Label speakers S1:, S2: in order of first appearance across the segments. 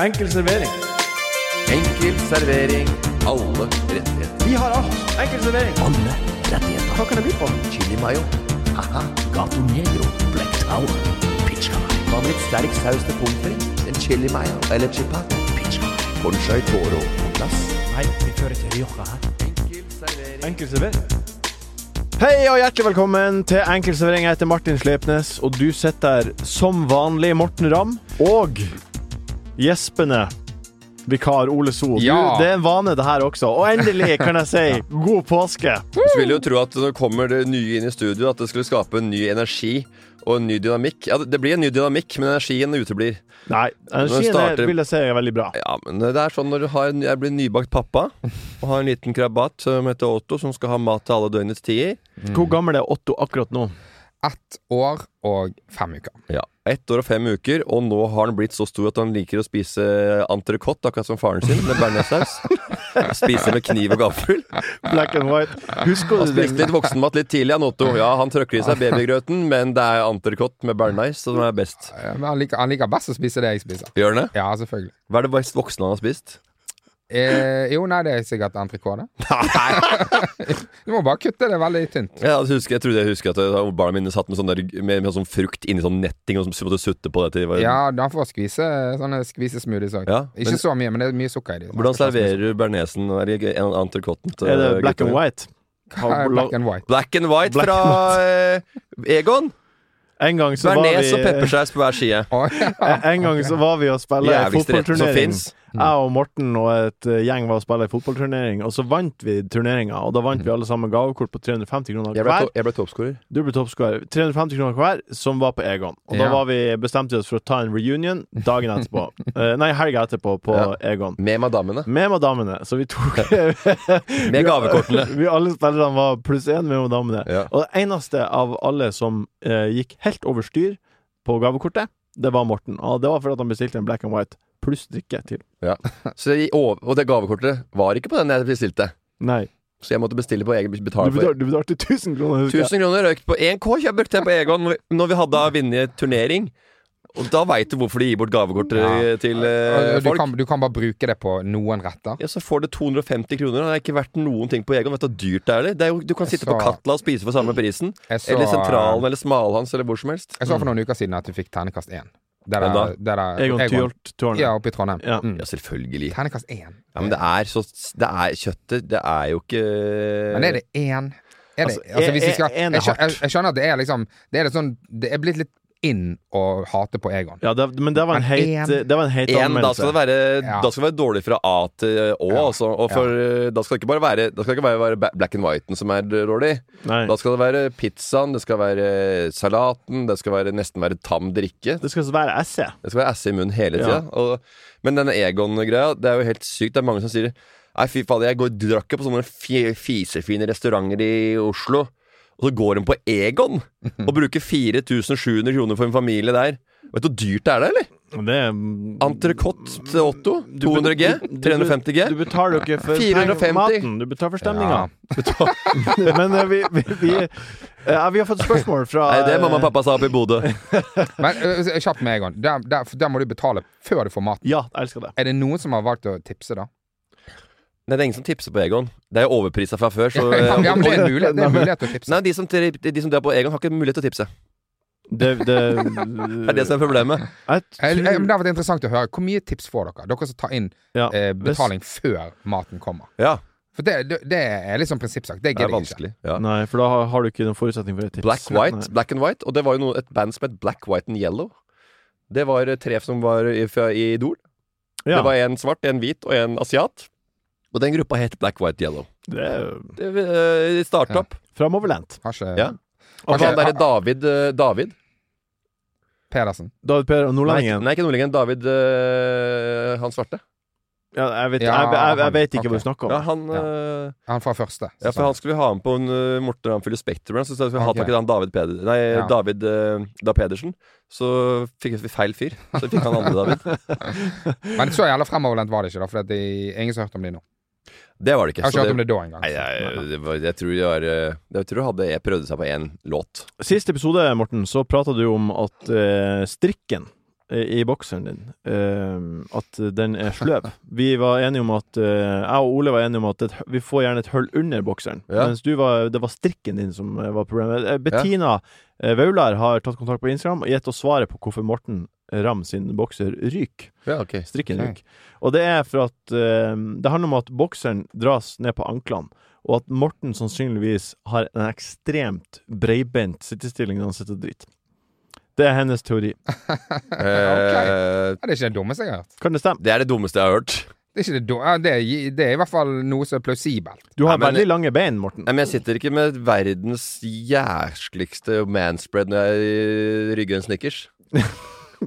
S1: Enkel servering.
S2: Enkel servering. Alle rettigheter.
S1: Vi har alt. Enkel servering.
S3: Alle rettigheter.
S1: Hva kan det bli på?
S2: Chili mayo.
S3: Haha. Gato Negro. Black Tower. Pizza.
S2: Hva med litt sterk saus til pommes frites? En chili mayo eller chipat?
S3: Pizza.
S2: Conchai toro på plass.
S3: Nei, vi fører til Rioja her.
S2: Enkel servering.
S1: Enkel servering. Hei og hjertelig velkommen til Enkel servering. Jeg heter Martin Slepnes, og du sitter der som vanlig, Morten Ramm, og gjespende vikar Ole So.
S4: Ja.
S1: Du, det er en vane, det her også. Og endelig kan jeg si god påske.
S4: Så ville jo tro at når kommer det nye inn i studio, at det skulle skape en ny energi og en ny dynamikk. Ja, det blir en ny dynamikk, men energien uteblir.
S1: Nei, energien
S4: starter-
S1: er- vil jeg si er veldig bra.
S4: Ja, men det er sånn når du har en, jeg blir nybakt pappa og har en liten krabat eh, som heter Otto, som skal ha mat til alle døgnets tider.
S1: Hvor gammel er Otto akkurat nå?
S5: Ett år og fem uker.
S4: Ja, Ett år og fem uker, og nå har han blitt så stor at han liker å spise eh, entrecôte, akkurat som faren sin, med bearnéssaus. Spise med kniv og gaffel.
S1: Black and white. Husker du
S4: Spiste
S1: den?
S4: litt voksenmat litt tidlig, han Otto. Ja, han trøkker i seg babygrøten, men det er entrecôte med bearnés som er best.
S5: Eh, Men han liker, han liker best å spise det jeg spiser.
S4: Gjør han det?
S5: Ja, selvfølgelig.
S4: Hva er det best voksne han har spist?
S5: Eh, jo, nei, det er sikkert entrecôte. Du må bare kutte det veldig tynt.
S4: Ja, jeg, husker, jeg trodde jeg husker at eh, barna mine satt med sånn, der, med, med sånn frukt inni sånn netting og så måtte sutte på det. Til, det var-
S5: Ja, da får skvise sånne skvisesmoothies òg.
S4: Ja,
S5: Ikke
S4: men-
S5: så mye, men det er mye sukker i de.
S4: Hvordan serverer du bearnesen og entrecôten? til
S1: Er det black and
S4: guttungen?
S1: white?
S5: Eh, Black and white.
S4: Black and white
S1: Black
S4: fra eh, Egon.
S1: En gang så var
S4: Bearnés og
S1: vi
S4: peppersaus på hver side.
S5: Å,
S1: En en gang så var vi og spilte
S4: Jævligste retten som
S1: fotballturnering.
S4: fins.
S1: Jeg og Morten og et eh, gjeng var og spilte fotballturnering, og så vant vi turneringa. Og da vant vi alle sammen gavekort på 350 kroner
S4: Jeg ble,
S1: hver.
S4: to, jeg ble toppskårer.
S1: Du ble toppscorer. 350 kroner hver, som var på Egon. Og da
S5: Ja.
S1: var vi, bestemte vi oss for å ta en reunion dagen etterpå. Eh, nei, helga etterpå, på
S4: Ja.
S1: Egon.
S4: Med madammene.
S1: Med madamene. Så vi tok
S4: Med gavekortene.
S1: Vi alle spillerne var pluss én med madamene.
S4: Ja.
S1: Og det eneste av alle som eh, gikk helt over styr på gavekortet, det var Morten. Og det var fordi at han bestilte en black and white pluss drikke til.
S4: Så jeg, og, og det gavekortet var ikke på den jeg bestilte.
S1: Nei.
S4: Så jeg måtte bestille på egen
S1: Du
S4: betale for.
S1: betalte, du betalte 1000 kroner, husker jeg.
S4: 1000 kroner røykt på 1K kjøpt jeg på Egon når vi- når vi hadde å vinne turnering. Og da veit du hvorfor de gir bort gavekort eh, til eh,
S5: Og Du
S4: folk.
S5: kan, du kan bare bruke det på noen retter.
S4: Ja, så får du 250 kroner. Det er ikke verdt noen ting på Egon. Vet du hvor dyrt det er? eller? Det er jo, du kan sitte på
S5: Så-
S4: Katla og spise for samme prisen.
S5: Jeg så, eh,
S4: Eller Sentralen eller Smalhans eller hvor som helst.
S5: Jeg så for noen uker siden at du fikk ternekast én. Det
S4: Hvem da?
S5: der, det der,
S1: Egon Tyholt-tårnet.
S5: Ja, oppe i Trondheim.
S1: Ja.
S5: Mm.
S4: Ja, selvfølgelig.
S5: Ternekast én.
S4: Ja, men det er så Det er kjøttet Det er jo ikke
S5: Men er det én er det,
S1: Altså,
S5: altså,
S1: en-
S5: hvis vi skal,
S1: en- en er
S5: jeg, skjø- jeg,
S1: hardt.
S5: jeg skjønner at det er liksom Det er, litt sånn, det er blitt litt in å hate på Egon.
S1: Ja, det, men det var en
S5: Men
S1: heit,
S5: en-
S1: det var en heit
S4: En, da skal
S1: anmeldelse.
S4: det være
S5: Ja.
S4: Da skal det være dårlig fra A til Å,
S5: Ja.
S4: altså. Og for, eh, da skal det ikke bare være Da skal det ikke bare være ba- black and whiten som er dårlig.
S5: Mm.
S1: Nei.
S4: Da skal det være pizzaen, det skal være salaten, det skal være, nesten være tam drikke.
S1: Det skal være esse.
S4: Det skal være esse i munnen hele tida. Og- Men denne Egon-greia, det er jo helt sykt. Det er mange som sier Nei, fy fader, jeg går, drakk jo på sånne fi- fisefine restauranter i Oslo, og så går hun på Egon og bruker 4700 kroner for en familie der. Vet du hvor dyrt det er, det, eller?
S1: Det er mm,
S4: Entrecôte til Otto. 200 G.
S1: du- du- Du
S4: 350 G.
S1: betaler jo ikke for
S4: 450.
S1: peng- maten, du betaler for stemninga. Men eh, vi, vi, vi, eh, vi har fått spørsmål fra
S4: Nei, det mamma og pappa sa oppe i Bodø.
S5: Men ø, kjapt med Egon. Der, der, for der må du betale før du får mat.
S1: Ja, jeg elsker det.
S5: Er det noen som har valgt å tipse, da?
S4: Nei, det er ingen som tipser på Egon. Det er jo overprisa fra før, så eh,
S5: Ja, men det er en mulighet, det er en mulighet til å tipse.
S4: Nei, de som, tri- de som drar på Egon, har ikke mulighet til å tipse.
S1: Det, det,
S4: Det er det som er problemet.
S1: jeg
S5: Eh,
S1: tror,
S5: eh, men Det har vært interessant å høre. Hvor mye tips får dere? Dere som tar inn
S1: ja,
S5: eh,
S1: hvis-
S5: betaling før maten kommer.
S4: Ja,
S5: For det, det, det er liksom prinsippsak.
S4: det
S5: Det
S4: er
S5: gidder jeg ikke.
S4: vanskelig. Ja.
S1: Nei, for da har- har du ikke noen forutsetning for et tips.
S4: Black, white,
S1: Nei.
S4: black and White, og det var jo noe, et band som het Black, White and Yellow. Det var eh, tre som var i, fra, i Idol.
S1: Ja,
S4: Det var en svart, en hvit og en asiat. Og den gruppa het Black, White, Yellow.
S1: det er jo
S4: Det, eh, de startet
S5: Ja.
S4: opp.
S1: framoverlent.
S5: Har ikke
S4: Ja.
S1: Og
S4: Og han
S5: Kanskje-
S4: derre David eh, David?
S5: Pedersen.
S1: David Per og
S4: Nei,
S1: nordlendingen.
S4: nei, ikke nordlendingen. David eh, han svarte.
S1: Ja, jeg, vet, jeg,
S5: Ja,
S1: jeg, jeg
S5: han-
S1: vet ikke
S5: ok.
S1: hva du snakker om.
S4: Ja, han
S5: Ja.
S4: eh,
S5: Han fra første.
S4: Ja, for han skulle vi ha med på en uh, Morten Ramfylle Spektrum. Så skulle vi ha
S5: Ok.
S4: tak i han David, Peder, nei,
S5: Ja.
S4: David eh, da Pedersen. Så fikk vi feil fyr. Så fikk han andre David.
S5: Men så jævla fremoverlent var det ikke, da. For det er ingen som har hørt om de nå.
S4: Det var det ikke.
S5: Jeg
S4: så
S5: har ikke
S4: Altså, det-
S5: hørt om det da engang.
S4: Nei, jeg, det var, jeg tror det var eh, Jeg tror det hadde jeg prøvde seg på én låt.
S1: Sist episode, Morten, så prata du om at eh, strikken i, i bokseren din, eh, at den er sløv. Vi var enige om at eh, Jeg og Ole var enige om at et, hø- vi får gjerne et hull under bokseren.
S4: Ja.
S1: Mens du var, det var strikken din som eh, var problemet. Eh, Bettina eh, Vaular har tatt kontakt på Instagram og gitt oss svaret på hvorfor Morten Ram sin bokser ryker.
S4: Ja, ok.
S1: Strikken
S5: Ok.
S1: ryker. Og det er for at eh, Det handler om at bokseren dras ned på anklene, og at Morten sannsynligvis har en ekstremt breibeint sittestilling når han sitter og driter. Det er hennes teori.
S4: Eh,
S5: Ja, det er ikke det dummeste jeg har hørt.
S1: Kan det stemme?
S4: det er det dummeste jeg har hørt.
S5: Det er, ikke det, dum- ja, det, er, det er i hvert fall noe som er plausibelt.
S1: Du har
S4: Nei, men-
S1: veldig lange bein, Morten.
S4: Nei, men Jeg sitter ikke med verdens jæskligste manspread når jeg rygger en snickers.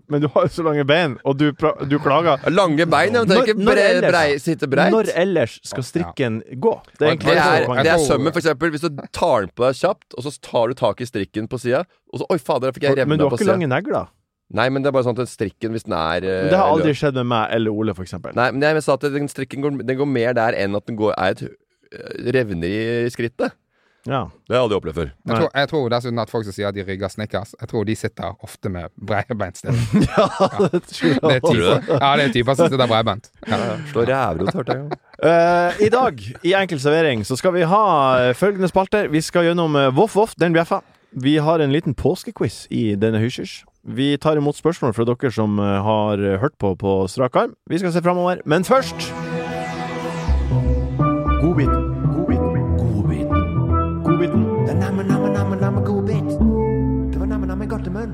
S1: Men du har jo så lange bein, og du, pra du klager.
S4: Lange bein, jeg trenger ikke
S1: Når- når
S4: bre,
S1: ellers,
S4: brei,
S1: da?
S4: sitte breit.
S1: Når ellers skal strikken gå? Det er egentlig
S4: det er,
S1: det som er
S4: det er
S1: poenget.
S4: sømmen, for eksempel. Hvis du tar den på deg kjapt, og så tar du tak i strikken på sida, og så Oi, fader, der fikk jeg
S1: Men
S4: revna
S1: du har
S4: på
S1: ikke
S4: sida.
S1: lange negler?
S4: Nei, men det er bare sånn at den strikken, hvis den er eh,
S1: Det har aldri
S4: løs-
S1: skjedd med meg eller Ole, for eksempel.
S4: Nei, men jeg sa at den strikken går, den går mer der enn at den går, er et eh, revner i skrittet.
S1: Ja.
S4: Det har jeg aldri opplevd før.
S5: Jeg
S1: Nei.
S5: tror, jeg tror dessuten at folk som sier at de rygger snickers, jeg tror de sitter ofte med breibeint sted.
S1: det tror jeg
S5: Det er
S1: også.
S5: typer, ja, det er typer som sitter breibeint. Ja.
S4: Slå rævrot, hørte jeg.
S1: Eh, I dag, i Enkel servering, så skal vi ha eh, følgende spalter. Vi skal gjennom eh, Voff Voff, den bjeffa. Vi har en liten påskequiz i denne hysjers. Vi tar imot spørsmål fra dere som eh, har eh, hørt på på strak arm. Vi skal se framover, men først Godbiten. Godbiten.
S3: Godbiten.
S1: Godbiten.
S2: Det er namme, namme, namme, namme godbit. Det var namme, namme godtemunn.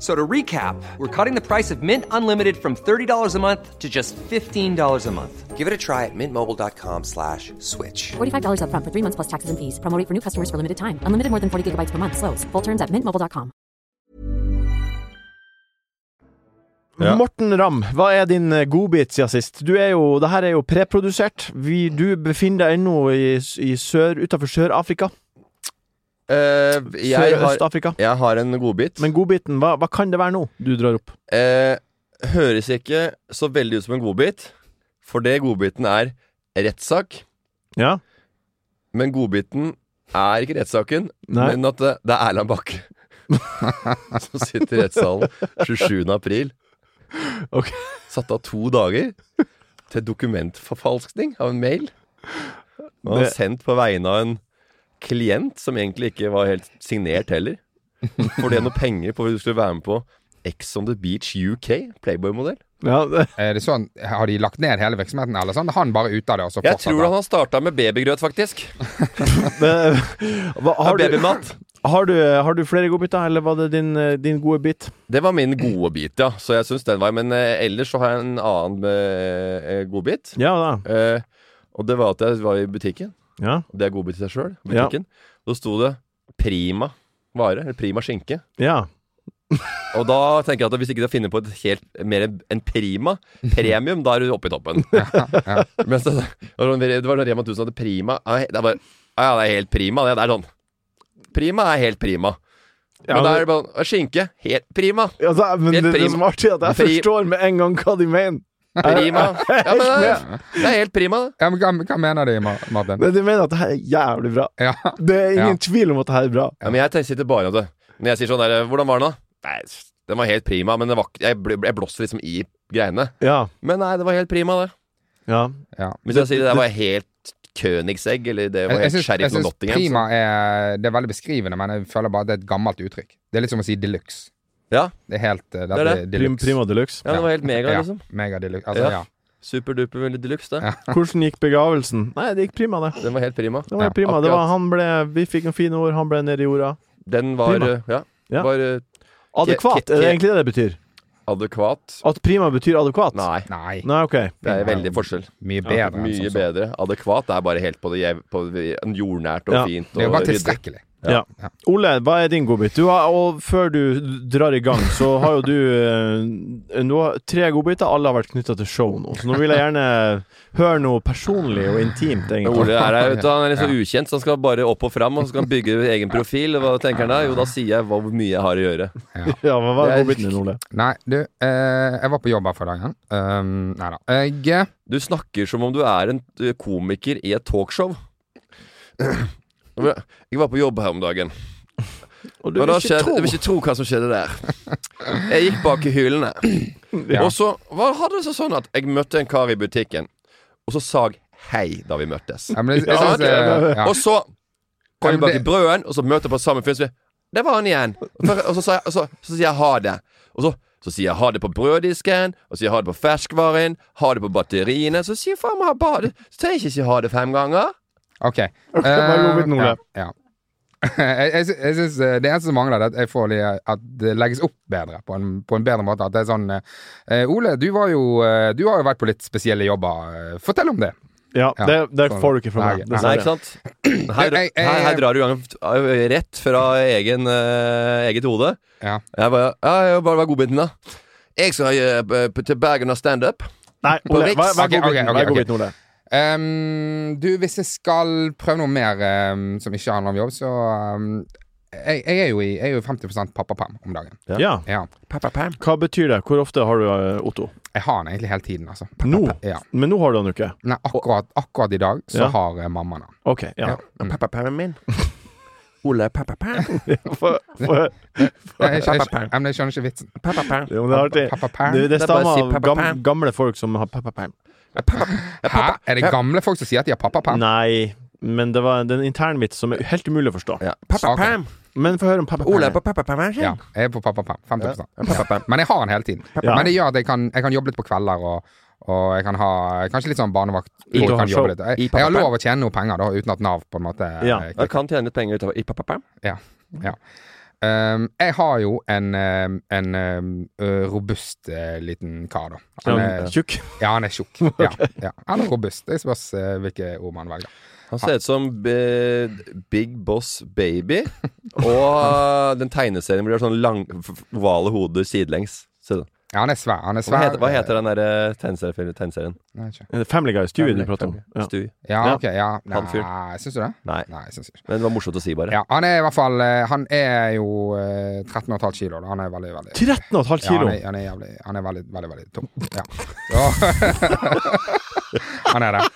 S6: So to recap, we're cutting the price of Mint Unlimited from $30 a month to just $15 a month. Give it a try at mintmobile.com slash switch.
S7: $45 upfront for three months plus taxes and fees. Promo rate for new customers for limited time. Unlimited more than 40 gigabytes per month. Slows. Full terms at mintmobile.com.
S4: Ja.
S1: Morten Ramm, hva er din eh, godbit siden sist? Du er jo, det her er jo preprodusert. Vi, du befinner deg ennå i, i sør, utenfor Sør-Afrika.
S4: Eh, jeg, har,
S1: Sør-Øst-Afrika.
S4: jeg har en godbit.
S1: Men godbiten, hva, hva kan det være nå du drar opp?
S4: Eh, høres ikke så veldig ut som en godbit, for det godbiten er rettssak.
S1: Ja?
S4: Men godbiten er ikke rettssaken,
S1: Nei.
S4: men at det, det er Erland Bakke. som sitter i rettssalen 27. april.
S1: Ok.
S4: Satt av to dager til dokumentforfalskning av en mail. Og
S1: Det-
S4: han har sendt på vegne av en klient som egentlig ikke var helt signert heller. For det er noe penger på hvis du skulle være med på Ex on the Beach UK, Playboy-modell.
S1: Ja, det-
S5: Er det sånn, har de lagt ned hele virksomheten, eller sånn? Han bare ut av det, og så
S4: Jeg tror
S5: fortsetter
S4: han har starta med babygrøt, faktisk.
S1: det- hva, har, du,
S4: Babymat.
S1: har, du, har du flere godbiter, eller var det din, eh, din gode bit?
S4: Det var min gode bit, ja. Så jeg syns den var Men eh, ellers så har jeg en annen eh, eh, god bit.
S1: Ja da.
S4: Eh, og det var at jeg var i butikken.
S1: Ja.
S4: Og det er godbit i seg sjøl. Butikken. Da sto det Prima vare. Eller Prima skinke.
S1: ja.
S4: Og da tenker jeg at hvis ikke du finner på et helt mer enn prima, premium, da er du oppe i toppen. Mens det, det var sånn- det var sånn Rema 1000 hadde prima Nei, det er bare, Ja, ja, det er helt prima. Det, det er sånn. Prima er helt prima.
S1: Ja,
S4: men, da
S1: men-
S4: er det bare sånn, skinke. Helt prima.
S1: Ja, da men det,
S4: Helt
S1: det
S4: prim.
S1: som er artig, er at jeg
S4: Pri-
S1: forstår med en gang hva de mener.
S4: Prima. Ja, men det, er- det er helt prima.
S5: ja, men hva, hva mener de, Ma- Martin?
S1: Men De mener at det her er jævlig bra.
S5: Ja.
S1: Det er ingen
S5: Ja.
S1: tvil om at det her er bra.
S4: Ja, men jeg tenker- sitter bare at det. Når jeg sier sånn der Hvordan var den, da? Nei, den var helt prima, men det var, ikke- jeg, ble- jeg blåser liksom i greiene.
S1: Ja.
S4: Men nei, det var helt prima, det.
S1: ja.
S5: Ja.
S4: Hvis jeg sier det der var helt Königsegg, eller det var
S5: Jeg, jeg
S4: helt
S5: syns, jeg
S4: Sheriff of
S5: syns
S4: Nottingham så-
S5: prima er, det er veldig beskrivende, men jeg føler bare at det er et gammelt uttrykk. Det er litt som å si de luxe.
S4: Ja,
S5: Det er helt eh,
S4: er
S5: dette
S4: det.
S5: er de
S1: Prim,
S5: luxe.
S1: prima de luxe.
S4: ja, det var helt mega, liksom.
S5: Ja, mega de luxe.
S4: Ja.
S5: Altså, ja.
S4: Superduper veldig deluxe, det.
S1: Hvordan gikk begravelsen? Nei, det gikk prima, det.
S4: Den var helt prima.
S1: Det var
S5: Ja,
S1: prima. Det var,
S4: akkurat.
S1: han ble, vi fikk noen fine ord, han ble nede i jorda.
S4: Den var,
S1: Prima.
S4: eh, ja,
S1: Ja.
S4: var eh,
S1: Adekvat, er det egentlig det det betyr?
S4: adekvat.
S1: At prima betyr adekvat?
S4: Nei,
S5: Nei.
S1: Nei, ok.
S4: det er veldig forskjell.
S5: Mye bedre. enn
S4: Mye
S5: som så.
S4: bedre. Adekvat er bare helt på det jev- på det jordnært og
S1: Ja.
S4: fint.
S5: Det er jo
S4: og
S5: bare
S4: ryddig.
S5: tilstrekkelig.
S1: Ja.
S5: Ja.
S1: Ole, hva er din godbit? Du har, og før du drar i gang, så har jo du eh, Nå har tre godbiter. Alle har vært knytta til show nå, så nå vil jeg gjerne høre noe personlig og intimt,
S4: Men
S1: egentlig.
S4: Ole er, her, vet du, han er litt så ukjent, så han skal bare opp og fram og så skal han bygge egen profil. Og hva tenker han da? Jo, da sier jeg hva- hvor mye jeg har å gjøre.
S1: Ja, hva var
S4: Det er-
S1: godbiten din, Ole?
S5: Nei, du, eh, jeg var på jobb her for dagen. Um, nei da. Jeg eh,
S4: Du snakker som om du er en eh, komiker i et talkshow. Jeg var på jobb her om dagen.
S1: Og
S4: Og da skjedde, jeg vil ikke tro hva som skjedde der. Jeg gikk bak i hyllene. Og så var, hadde det seg sånn at jeg møtte en kar i butikken, og så sa jeg hei da vi møttes.
S5: ja, men jeg, jeg
S4: Ja,
S5: synes, eh, ja.
S4: Og så
S5: Ja,
S4: kom vi
S5: men
S4: bak
S5: det-
S4: i brøden, og så møter jeg på samme fyr. så sier jeg, Der var han igjen. For- Og så, sa jeg, og så, så sier jeg ha det. Og så, så sier jeg ha det på brøddisken, og så sier jeg ha det på ferskvaren, ha det på batteriene. Så sier faen meg ha det. Så trenger jeg ikke si ha det fem ganger.
S5: Ok.
S1: bare gå vidt, Nole.
S5: ja, ja. jeg jeg, sy- jeg syns eh, det eneste som mangler, er at, jeg får det, at det legges opp bedre. På en, på en bedre måte. At det er sånn eh, eh, Ole, du, var jo, eh, du har jo vært på litt spesielle jobber. eh, Fortell om det.
S1: Ja,
S5: Ja,
S1: det, det
S5: sånn.
S1: får du ikke fra
S5: Nei,
S1: meg.
S5: nei.
S4: Nei,
S1: dessverre.
S4: ikke sant? Her,
S5: Jeg- jeg-
S4: her, her drar du i gang f- rett fra egen, eh, eget hode.
S5: Ja.
S4: Jeg bare, ja, jeg bare var godbiten, da. Jeg skal eh, b- p- til Bergen og standup.
S1: Nei, Ole,
S4: Riks.
S1: hva, hva er
S5: Ok, ok,
S1: godbiten,
S5: ok,
S1: hva er
S5: ok.
S1: godbiten, Ole?
S5: Ehm, du, hvis jeg skal prøve noe mer ehm, som ikke handler om jobb, så ehm, jeg, jeg, er jo i, jeg er jo 50 pappaperm om dagen.
S4: Ja.
S1: Ja.
S5: Ja.
S1: Hva betyr det? Hvor ofte har du eh, Otto?
S5: Jeg har den egentlig hele tiden, altså.
S1: Nå?
S5: Ja.
S1: Men nå har du han jo ikke.
S5: Nei, akkurat, akkurat i dag så
S1: Ja.
S5: har eh, mammaen den.
S1: OK. Ja.
S5: Ja. Mm.
S4: Pappapermen min. Ole pappaperm.
S1: For, for,
S5: Nei, Jeg, jeg, jeg,
S4: Pappaperm.
S5: jeg, jeg skjønner ikke vitsen.
S4: Pappaperm.
S1: jo, men det er artig.
S5: Pappaperm?
S1: Det, det
S4: er bare å
S1: stammer
S4: si
S1: av gam,
S4: pappaperm.
S1: gamle folk som har pappaperm.
S5: Hæ? Er det gamle folk som sier at de har pappaperm?
S1: Nei, men det var en intern vits som er helt umulig å forstå.
S4: Ja. Pappaperm.
S1: Men få høre om pappaperm.
S4: Ole på pappapermen sin.
S5: Ja, jeg er på pappaperm. 50
S4: Pappaperm.
S5: Men jeg har den hele tiden.
S1: Ja.
S5: Men det gjør at jeg kan, jeg kan jobbe litt på kvelder, og, og jeg kan ha kanskje litt sånn barnevakt.
S1: I-
S5: hvor jeg kan
S1: show.
S5: jobbe litt.
S4: I
S5: Jeg, jeg har
S4: pappaperm.
S5: lov å tjene noe penger da, uten at Nav på en måte
S1: Ja.
S5: eh,
S4: Jeg kan tjene litt penger utover i pappaperm.
S5: Ja. ja. Ehm, jeg har jo en, ehm, en ehm, ø, robust eh, liten kar, da. Han
S1: Ja,
S5: er,
S1: Tjukk.
S5: ja, han er tjukk. Ja, ja. Han er robust. Det spørs eh, hvilke ord man velger.
S4: Han ser ut som eh, Big Boss Baby. Og den tegneserien hvor de har sånn lang, f- f- ovale hoder sidelengs. Se da.
S5: Ja, han er svær. Han er
S4: Hva
S5: svær.
S4: heter, hva heter den der eh, tegneserien? tegneserien?
S5: Nei, ikke.
S1: Er det Family Guy, Stewie du
S4: Family-
S1: prater om. Ja.
S4: Stewie.
S5: Ja,
S1: Ja.
S5: ok. Ja.
S4: Han fyren.
S5: Nei, syns du det?
S4: Nei.
S5: Nei, syns ikke.
S4: Men det var morsomt å si, bare.
S5: Ja, han er i hvert fall eh, Han er jo eh, 13,5 kilo. Da. Han er veldig, veldig
S1: 13,5
S5: ja, han,
S1: kilo!
S5: er, han, er jævlig, han er veldig, veldig, veldig tung. Ja. Så- han er det.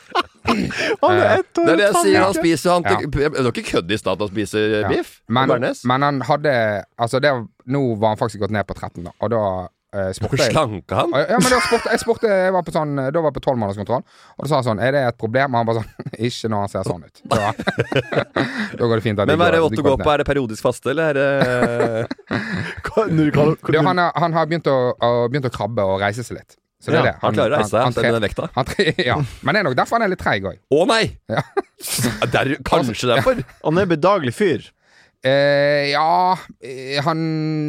S1: Han er ett år
S4: Det er det jeg
S1: og et
S4: sier. Han
S1: halvt, ikke?
S4: spiser han,
S5: Ja.
S4: Det var ikke kødd i stad at han spiser eh,
S5: Ja.
S4: biff.
S5: Men,
S4: Bernes.
S5: men han hadde Altså, det, nå var han faktisk gått ned på 13, da. Og da eh,
S4: Hvor
S5: spurte jeg
S4: slanka han?
S5: ja, men da spurte, jeg spurte Jeg var på sånn Da var jeg på tolvmånederskontroll, og da sa han sånn Er det et problem? Og han bare sånn Ikke når han ser sånn ut. Da, da går det fint. at de
S4: Men hva er det
S5: går-
S4: Otto
S5: de går
S4: går
S5: ned.
S4: på? Er det periodisk faste, eller er det
S1: Hva- når du kaller-
S5: Du, han, har- han har begynt å, å, begynt å krabbe og reise seg litt. Så
S4: Ja,
S5: det er det.
S4: han klarer å reise seg, selv med den vekta.
S5: han tre- ja. Men det er nok derfor han er litt treig òg.
S4: Å nei!
S5: Ja.
S4: Der, kanskje derfor.
S1: Han er en bedagelig fyr.
S5: Eh, ja eh, Han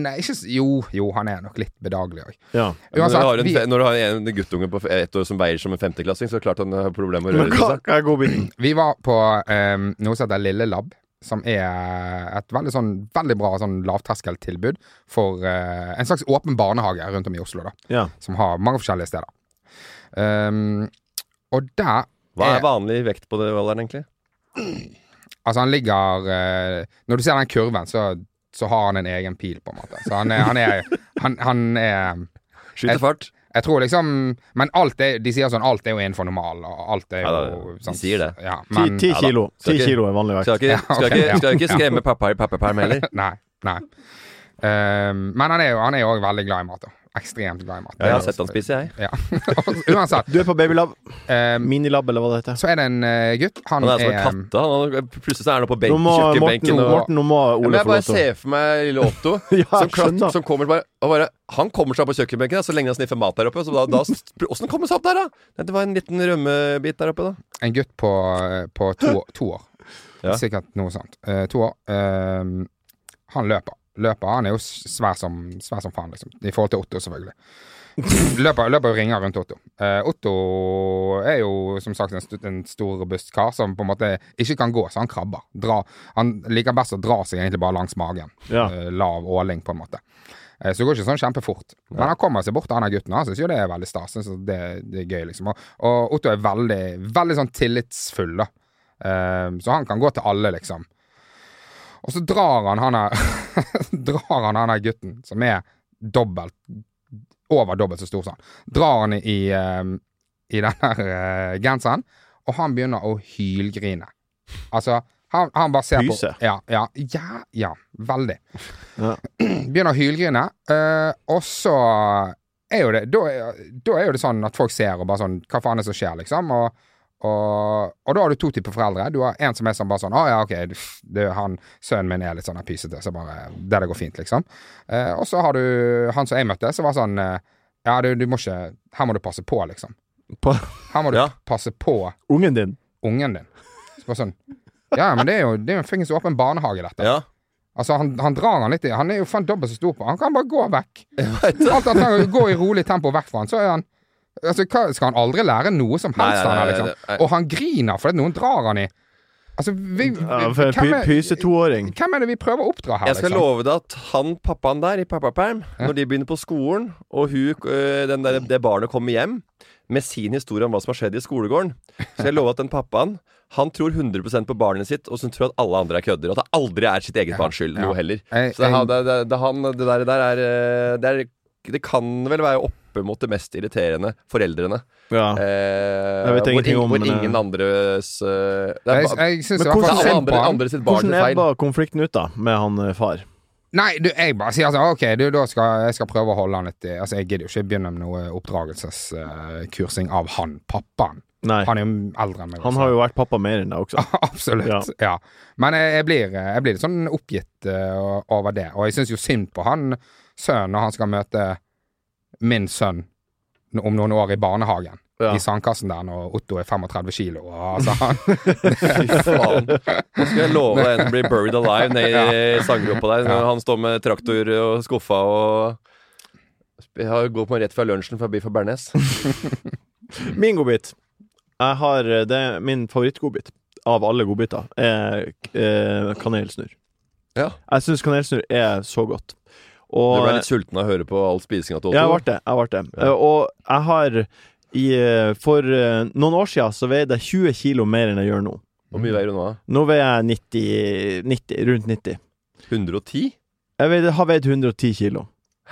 S5: er ikke s- Jo, jo, han er nok litt bedagelig òg.
S1: Ja.
S4: Når du,
S5: Uansett,
S4: har en,
S5: vi-
S4: fe- når du har en guttunge på f- ett år som veier som en femteklassing, så er det klart han har problemer med å
S1: Men
S4: røre
S1: hva,
S4: seg.
S1: hva er godbiten?
S5: Vi var på um, noe som heter Lille Lab, som er et veldig, sånn, veldig bra sånn lavterskeltilbud for eh, en slags åpen barnehage rundt om i Oslo, da,
S1: Ja.
S5: som har mange forskjellige steder. Ehm, og der
S4: Hva er vanlig vekt på det alderen, egentlig?
S5: Altså, han ligger eh, Når du ser den kurven, så, så har han en egen pil, på en måte. Så han er, han er, han, han er
S4: Skyter fart.
S5: Jeg tror liksom Men alt er, de sier sånn alt er jo innenfor normal, og alt er jo
S4: Ja, da, de
S5: sant?
S4: sier det.
S5: Ja,
S1: Ti,
S5: men,
S1: ti
S4: ja da.
S1: kilo.
S4: Skal
S1: Ti
S4: ikke-
S1: kilo er vanlig vekt.
S4: Skal ikke,
S5: Ja,
S4: skal
S5: ok,
S4: ikke,
S5: ja.
S4: skal ikke
S5: Ja.
S4: skremme pappa i pappaperm heller.
S5: Nei. nei. Ehm, men han er jo- han er jo òg veldig glad i mat. da. Ekstremt glad i mat.
S4: Ja, jeg har sett han spise, jeg.
S5: Ja. Uansett.
S1: Du er på babylab.
S5: ehm,
S1: Minilab, eller hva det heter.
S5: så er det en eh, gutt. Han,
S4: Han er altså som en
S5: er
S4: katte. Han er, plutselig så er han oppe på
S1: Nå
S4: benken,
S1: må Morten,
S4: kjøkkenbenken. Og...
S1: Morten, nå må
S4: Ja, men
S1: Ole
S4: jeg
S1: få
S4: bare
S1: lov til å
S4: ser for meg lille Otto
S1: Ja,
S4: som, klatt,
S1: skjønner.
S4: som kommer bare, og bare Han kommer seg opp på kjøkkenbenken da, så lenge han sniffer mat der oppe. Så da, da, hvordan kommer han seg opp der, da? Nei, Det var en liten rømmebit der oppe, da.
S5: en gutt på, på to, to år.
S4: Ja.
S5: Sikkert noe sånt. Eh, to år. Ehm, Han løper. Løper, Han er jo svær som, svær som faen, liksom. I forhold til Otto, selvfølgelig. Løper, løper og ringer rundt Otto. Eh, Otto er jo som sagt en, st en stor, robust kar som på en måte ikke kan gå, så han krabber. Dra, han liker best å dra seg egentlig bare langs magen.
S1: Ja.
S5: Eh, lav åling, på en måte. Eh, så det går ikke sånn kjempefort. Men han kommer seg bort, han er gutten. Han syns jo det er veldig stas. Så det, det er gøy, liksom. Og, og Otto er veldig, veldig sånn tillitsfull, da. Eh, så han kan gå til alle, liksom. Og så drar han han her Drar han han her gutten, som er dobbelt Over dobbelt så stor som han. Drar han i, eh, i den her eh, genseren, og han begynner å hylgrine. Altså, han, han bare ser
S1: Hyse.
S5: på Ja, ja, ja, ja veldig.
S1: Ja.
S5: Begynner å hylgrine, eh, og så er jo det da, er- da er jo det sånn at folk ser og bare sånn Hva faen er det som skjer, liksom? Og og, og da har du to typer foreldre. Du har en som er sånn bare sånn Å ja, ok, pff, det, er han, sønnen min er litt sånn her pysete, så bare Det der går fint, liksom. Eh, og så har du han som jeg møtte, som var sånn eh, Ja, du, du må ikke Her må du passe på, liksom.
S1: På
S5: Her må du
S4: Ja.
S5: passe på
S1: ungen din.
S5: ungen din. Så bare sånn Ja, men det er jo Det er jo en fuckings åpen barnehage, dette.
S4: Ja.
S5: Altså, han, han drar han litt i Han er jo faen dobbelt så stor på Han kan bare gå vekk. Alt han trenger å gå i rolig tempo vekk fra han, så er han Altså, hva, Skal han aldri lære noe som
S4: Nei,
S5: helst?
S4: nei,
S5: han her,
S4: nei,
S5: liksom?
S4: nei, nei.
S5: Og han griner fordi at noen drar han i Altså, vi,
S1: Ja, for en
S5: hvem,
S1: py-
S5: er,
S1: pysetoåring.
S5: hvem er det vi prøver å oppdra her, liksom?
S4: Jeg skal love deg at han pappaen der i pappaperm, når de begynner på skolen, og hun, øh, den der, det barnet kommer hjem med sin historie om hva som har skjedd i skolegården, så jeg lover at den pappaen han tror 100 på barnet sitt, og så tror han at alle andre er kødder. Og at det aldri er sitt eget barns skyld,
S5: ja.
S4: noe heller.
S5: Jeg-
S4: Så det,
S5: jeg-
S4: det, det, det, han, det der, der er, øh, det er Det kan vel være oppe mot det mest irriterende foreldrene.
S1: Ja.
S4: Eh,
S1: Jeg vet
S4: hvor,
S1: ingenting
S4: ing-
S1: om,
S4: hvor
S1: men, eh,
S4: ingen andres øh, Det er,
S5: Jeg,
S4: ba-
S5: jeg synes
S1: Men
S4: det
S5: i hvert
S4: er
S5: fall
S1: hvordan-
S4: alle
S5: synd på
S4: andre,
S5: han.
S4: andre sitt barn
S1: Hvordan
S4: sin
S1: er
S4: feil.
S1: bare konflikten ut, da, med han eh, far?
S5: Nei, du, jeg bare sier sånn OK, du, da skal jeg skal prøve å holde han litt i Altså, jeg gidder jo ikke begynne med noe oppdragelseskursing av han pappaen.
S1: Nei.
S5: Han er jo eldre enn meg.
S1: Han
S5: også.
S1: har jo vært pappa mer enn deg også.
S4: Ah.
S5: Absolutt.
S1: Ja.
S5: Ja. Men jeg, jeg, blir, jeg blir litt sånn oppgitt eh, over det. Og jeg syns jo synd på han sønnen når han skal møte min sønn n- om noen år i barnehagen.
S1: Ja.
S5: I sandkassen der når Otto er 35 kilo. Og, altså, han,
S4: Fy faen. Nå skal jeg love deg en blir buried alive nede i sanggruppa der. Når han står med traktor og skuffa og Jeg har jo gått på rett fra lunsjen fra Biff og Bernes.
S1: Min godbit. Jeg har eh, det er Min favorittgodbit av alle godbiter er eh, kanelsnurr.
S4: Ja.
S1: Jeg syns kanelsnurr er så godt.
S4: Du
S1: Og
S4: ble litt sulten av å høre på all spisinga til
S1: Ja, jeg
S4: Otto?
S1: ble det. Jeg ble det. Eh, Og jeg har i, eh, For eh, noen år siden så veide jeg 20 kilo mer enn jeg gjør nå.
S4: Hvor mye veier du nå? da?
S1: Nå veier jeg 90, 90 rundt 90.
S4: 110?
S1: Jeg veide, har veid 110 kilo.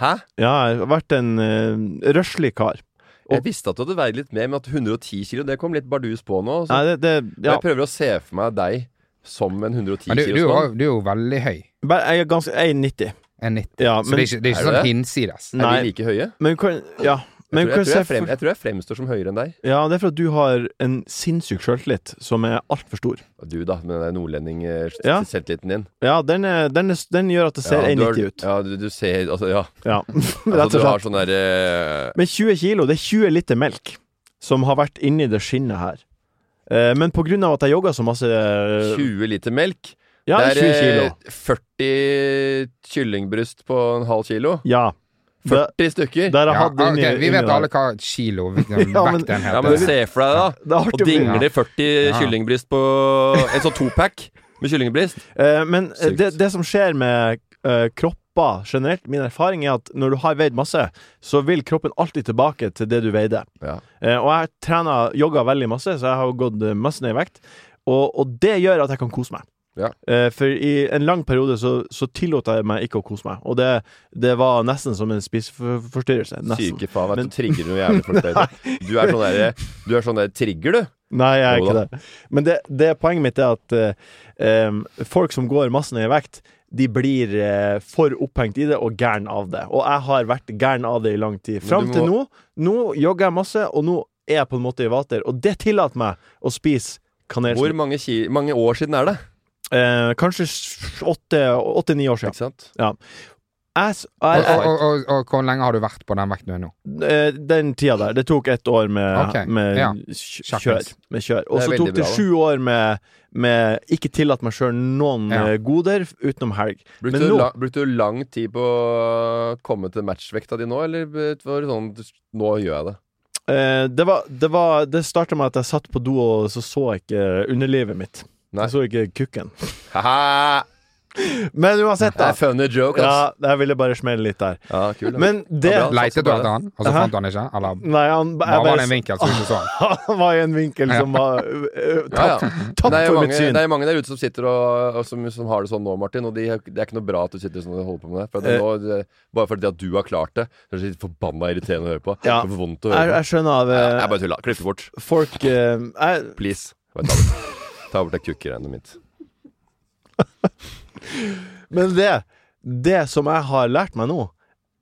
S4: Hæ?
S1: Ja, jeg har vært en uh, røslig kar.
S4: Jeg visste at du hadde veid litt mer, men at 110 kilo, det kom litt bardus på nå. Så.
S1: Nei, det, det ja.
S4: Jeg prøver å se for meg deg som en 110
S5: men du, du,
S4: kilos
S5: er
S4: mann.
S1: sånn.
S5: jo- du er jo veldig høy.
S1: Bare- Jeg er ganske Jeg er 90.
S5: En 90.
S1: Ja,
S5: så det
S1: men-
S5: er ikke, det er ikke
S4: Er du
S5: sånn
S4: det?
S5: hinsides.
S4: Er
S1: Nei.
S4: vi like høye?
S1: Men du kan Ja. Men
S4: Jeg
S1: du
S4: tror,
S1: kan
S4: jeg, tror
S1: se
S4: jeg, frem,
S1: for,
S4: jeg tror jeg fremstår som høyere enn deg.
S1: Ja, det er for at du har en sinnssyk sjøltillit som er altfor stor.
S4: Du, da, med den
S1: Ja.
S4: nordlending-selvtilliten din.
S1: Ja, den, er, den, er, den gjør at det ser
S4: Ja, du har-
S1: 1,90 ut.
S4: Ja, du, du ser Altså, ja.
S1: Ja, rett
S4: Altså,
S1: og
S4: du har
S1: slett.
S4: sånn der eh,
S1: Men 20 kilo, det er 20 liter melk som har vært inni det skinnet her. Eh, Men på grunn av at jeg jogga så masse eh,
S4: 20 liter melk.
S1: Ja,
S4: det
S1: 20
S4: er
S1: kilo.
S4: eh, 40 kyllingbryst på en halv kilo.
S1: Ja. Det,
S4: 40 stykker.
S1: der
S5: Ja,
S1: jeg hadde inni,
S5: ok, vi vet
S1: inni
S5: alle
S1: der.
S5: hva kilo vekt
S1: men-
S5: den
S4: ja, men
S5: heter.
S4: se for deg, da.
S1: Det er
S4: Og
S1: artig å bli-
S4: dingle 40
S5: Ja.
S4: kyllingbryst på en sånn topack med kyllingbryst.
S1: Eh, Men eh,
S4: Sykt.
S1: det, det som skjer med eh, kropper generelt, min erfaring er at når du har veid masse, så vil kroppen alltid tilbake til det du veide.
S4: Ja.
S1: Eh, og jeg trener jogga veldig masse, så jeg har gått eh, masse ned i vekt. Og, og det gjør at jeg kan kose meg.
S4: Ja.
S1: Eh, for i en lang periode så, så tillot jeg meg ikke å kose meg. Og det, det var nesten som en spiseforstyrrelse. Nesten.
S4: Syke faen.
S1: Men-
S4: Vet du, trigger noe jævlig folk der. Du er sånn der, du er sånn der trigger, du.
S1: Nei, jeg er
S4: Jo
S1: ikke
S4: da.
S1: det. Men det, det poenget mitt er at eh, em, folk som går masse ned i vekt, de blir eh, for opphengt i det og gæren av det. Og jeg har vært gæren av det i lang tid.
S4: du
S1: Fram til nå.
S4: må-
S1: Nå jogger jeg masse, og nå er jeg på en måte i vater. Og det tillater meg å spise
S4: Hvor
S1: kanelsnurr.
S4: mange, ki mange år siden er det?
S1: Eh, kanskje s- åtte- åtte-ni år siden.
S4: Ikke sant?
S1: Ja. Jeg, s-
S5: Og,
S1: jeg, jeg,
S5: og, og, og hvor lenge har du vært på den vekten du er nå?
S1: Eh, Den tida der. Det tok ett år med,
S5: Ok,
S1: med,
S5: ja.
S1: kj- kjør,
S5: Sjakkens.
S1: med kjør. Og
S4: Det er
S1: så
S4: veldig
S1: tok det
S4: bra, da.
S1: sju år med, med ikke tillatt meg sjøl noen
S5: Ja.
S1: eh, goder utenom helg.
S4: Brukte,
S1: Men
S4: du
S1: nå
S4: la, brukte du lang tid på å komme til matchvekta di nå, eller var det sånn Nå gjør jeg det.
S1: eh, Det, var- det, var- det starta med at jeg satt på do, og så så jeg ikke underlivet mitt.
S4: Nei.
S1: Jeg så ikke kukken.
S4: Haha!
S1: Men uansett,
S4: Det
S1: da.
S4: er funny joke, ass.
S1: Ja, jeg ville bare smelle litt der.
S4: Ja, kul, da.
S1: Men det
S4: Ja, bra.
S5: Leite du etter han, og så
S1: Hæ?
S5: fant du han ikke? Eller
S1: Nei, han jeg
S5: bare
S1: bare-
S5: var det en vinkel som du ikke så han?
S1: Han var i en vinkel som var eh,
S4: ja, ja.
S1: tapt, tapt
S4: det, er jo
S1: for
S4: mange,
S1: mitt syn.
S4: det er jo mange der ute som sitter og, og som, som har det sånn nå, Martin. Og de, det er ikke noe bra at du sitter sånn og holder på med det. For at
S1: Eh.
S4: nå, det bare fordi at du har klart det. Det er så forbanna irriterende å høre på.
S1: Ja.
S4: Det er for vondt å
S1: Jeg,
S4: høre på.
S1: jeg skjønner av
S4: Ja,
S1: eh,
S4: Jeg bare tulla. Klipp det bort.
S1: folk eh, jeg,
S4: Please. Bare ta bort, ta bort det kukkeregnet mitt.
S1: Men det, det som jeg har lært meg nå,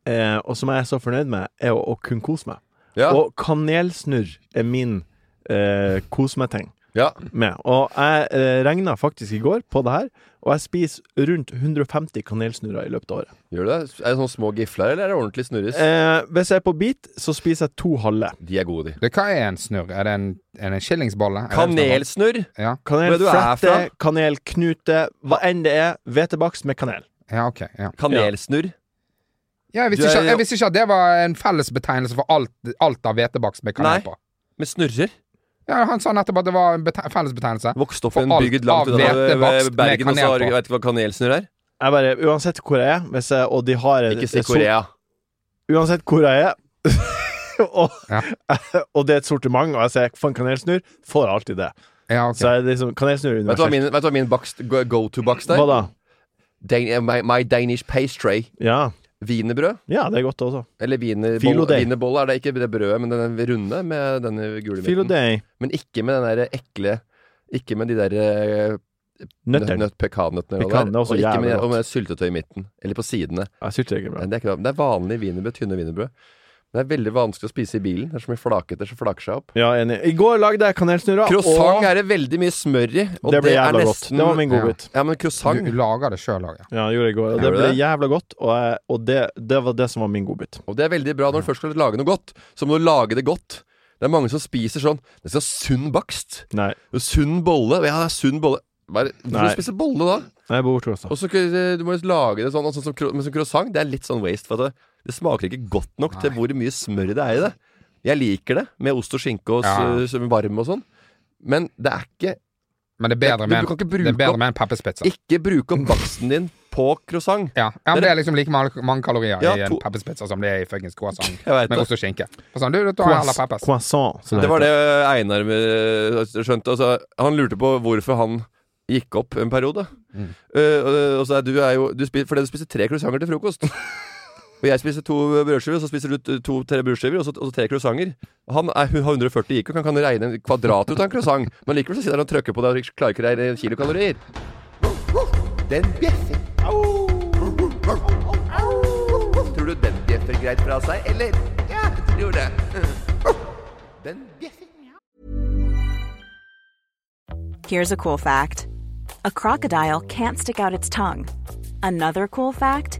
S1: eh, og som jeg er så fornøyd med, er å, å kun kose meg.
S4: Ja.
S1: Og kanelsnurr er min eh, kose meg-ting.
S4: ja.
S1: Med. Og jeg eh, regna faktisk i går på det her, og jeg spiser rundt 150 kanelsnurrer i løpet av året.
S4: Gjør du det? Er det sånne små gifler, eller er det ordentlig snurris?
S1: Eh, hvis jeg er på bit, så spiser jeg to halve.
S4: De er gode, de.
S5: Det, hva er en snurr? Er det en, er det en skillingsbolle? Er det en snurr?
S4: Kanelsnurr!
S5: Ja.
S4: Hvor er du er
S1: Kanelflette,
S4: fra?
S1: kanelknute, hva enn det er. Hvetebakst med kanel.
S5: ja, ok. Ja.
S4: Kanelsnurr.
S5: Ja, jeg, visste
S4: Du er
S5: ikke,
S4: jo-
S5: jeg visste ikke at det var en fellesbetegnelse for alt, alt av hvetebakst med kanel
S4: Nei.
S5: på.
S4: Med snurrer.
S5: Ja, Han sa nettopp at det var en bete- fellesbetegnelse.
S4: Vokst opp
S5: For
S4: i en
S5: alt
S4: bygd
S5: av
S4: langt unna
S5: hvetebakst med
S4: Bergen, og så
S5: kanel
S4: har du
S5: på.
S4: vet ikke hva kanelsnurr er?
S1: Jeg bare, Uansett hvor jeg er, hvis jeg, og de har et-
S4: Ikke si
S1: et sort-
S4: Korea.
S1: uansett hvor jeg er og,
S5: Ja.
S1: og det er et sortiment, og jeg sier 'faen, kanelsnurr', får jeg alltid det.
S5: Ja, ok.
S1: Så jeg er liksom kanelsnurr er
S4: Vet du hva
S1: universelt.
S4: min, vet du hva min bakst, go, to-bakst
S1: Hva
S4: er?
S1: da?
S4: Dan, eh, my, my Danish pastry.
S1: Ja.
S4: Wienerbrød.
S1: ja, det er godt også.
S4: Eller
S1: Filo
S4: wienerbolle.
S1: dei.
S4: Wienerbolle er det ikke det brødet, men den er runde med denne gule
S1: Filo
S4: midten.
S1: day.
S4: Men ikke med den der ekle Ikke med de der eh, nøtt-
S1: Nøtter.
S4: nøtt- pekannøttene. og
S1: Pekan,
S4: der.
S1: det er også
S4: og ikke med,
S1: jævlig
S4: og med syltetøy i midten. Eller på sidene.
S1: Jeg synes det er ikke bra.
S4: Men Det er, ikke, det er vanlig wienerbrød. Tynne wienerbrød. Men det er veldig vanskelig å spise i bilen. Det er så mye flakete som flaker seg opp.
S1: Ja, enig. I går lagde jeg kanelsnurrer,
S4: Croissant
S1: og
S4: er det veldig mye smør i. Og
S1: det ble
S4: er
S1: jævla godt.
S4: nesten
S1: Det var min godbit.
S4: Ja, men
S5: Du,
S4: croissant
S5: du lager det sjøl òg, ja.
S1: Ja, gjorde jeg i går, og det
S4: Gjorde
S1: ble
S4: det?
S1: jævla godt, og, jeg, og det, det var det som var min godbit.
S4: Og det er veldig bra når du først skal lage noe godt, så må du lage det godt. Det er mange som spiser sånn Det skal ha sunn bakst.
S1: Nei,
S4: og Sunn bolle. Ja, det er sunn bolle. Hva er det- Hvorfor
S1: Nei.
S4: spiser du bolle da?
S1: jeg bor borte også.
S4: Og så eh, du må jo lage det sånn, og sånn som, cro- men som croissant. Det er litt sånn waste. For at det, det smaker ikke godt nok til hvor mye smør det er i det. Jeg liker det med ost og skinke og
S5: Ja.
S4: s- s- varm og sånn. Men det er ikke
S5: Men det er bedre
S4: Du-
S5: med,
S4: du kan ikke
S5: en-
S4: bruke
S5: det er bedre
S4: opp-
S5: med en pepperspizza.
S4: Ikke bruk opp baksten din på croissant.
S5: Ja. ja, men Det er liksom like mange mange kalorier
S4: Ja,
S5: i en
S4: to-
S5: pepperspizza som det er i fuckings croissant
S4: Jeg vet
S5: med
S4: det.
S5: ost og skinke. Og Sånn, du, du tar heller peppers.
S1: Croissant. som
S4: Det var
S1: heter.
S4: det Einar eh, skjønte. Altså, han lurte på hvorfor han gikk opp en periode.
S1: Mm.
S4: Eh, og, og så er du er jo du spiser, Fordi du spiser tre croissanter til frokost. og jeg spiser to brødskiver, og så spiser du to-tre brødskiver og så, og så tre croissanter. Han er, hun har 140 IQ, kan, kan regne en kvadrat ut av en croissant. Men likevel så sitter han og trykker på det og klarer ikke å regne kilokalorier. Den bjeffer. Tror du den bjeffer greit fra seg, eller? Ja, jeg tror det. Den bjeffer.
S8: Here's a cool fact a crocodile can't stick out its tongue. Another cool fact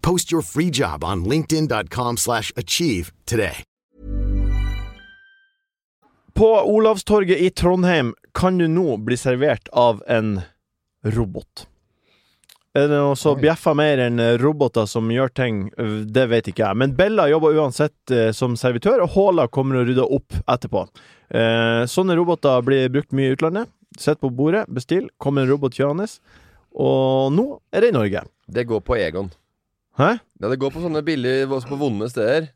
S3: Post your free job on linkedin.com/achieve slash achieve today.
S1: På Olavstorget i Trondheim kan du nå bli servert av en robot. Er det noe som
S5: Oi.
S1: bjeffer mer enn roboter som gjør ting? Det vet ikke jeg. Men Bella jobber uansett eh, som servitør, og Håla kommer og rydder opp etterpå. Eh, sånne roboter blir brukt mye i utlandet. Sett på bordet, bestill. Kommer en robot kjørende. Og nå er det i Norge.
S4: Det går på Egon.
S1: Hæ?
S4: Ja, det går på sånne billige, også på vonde steder.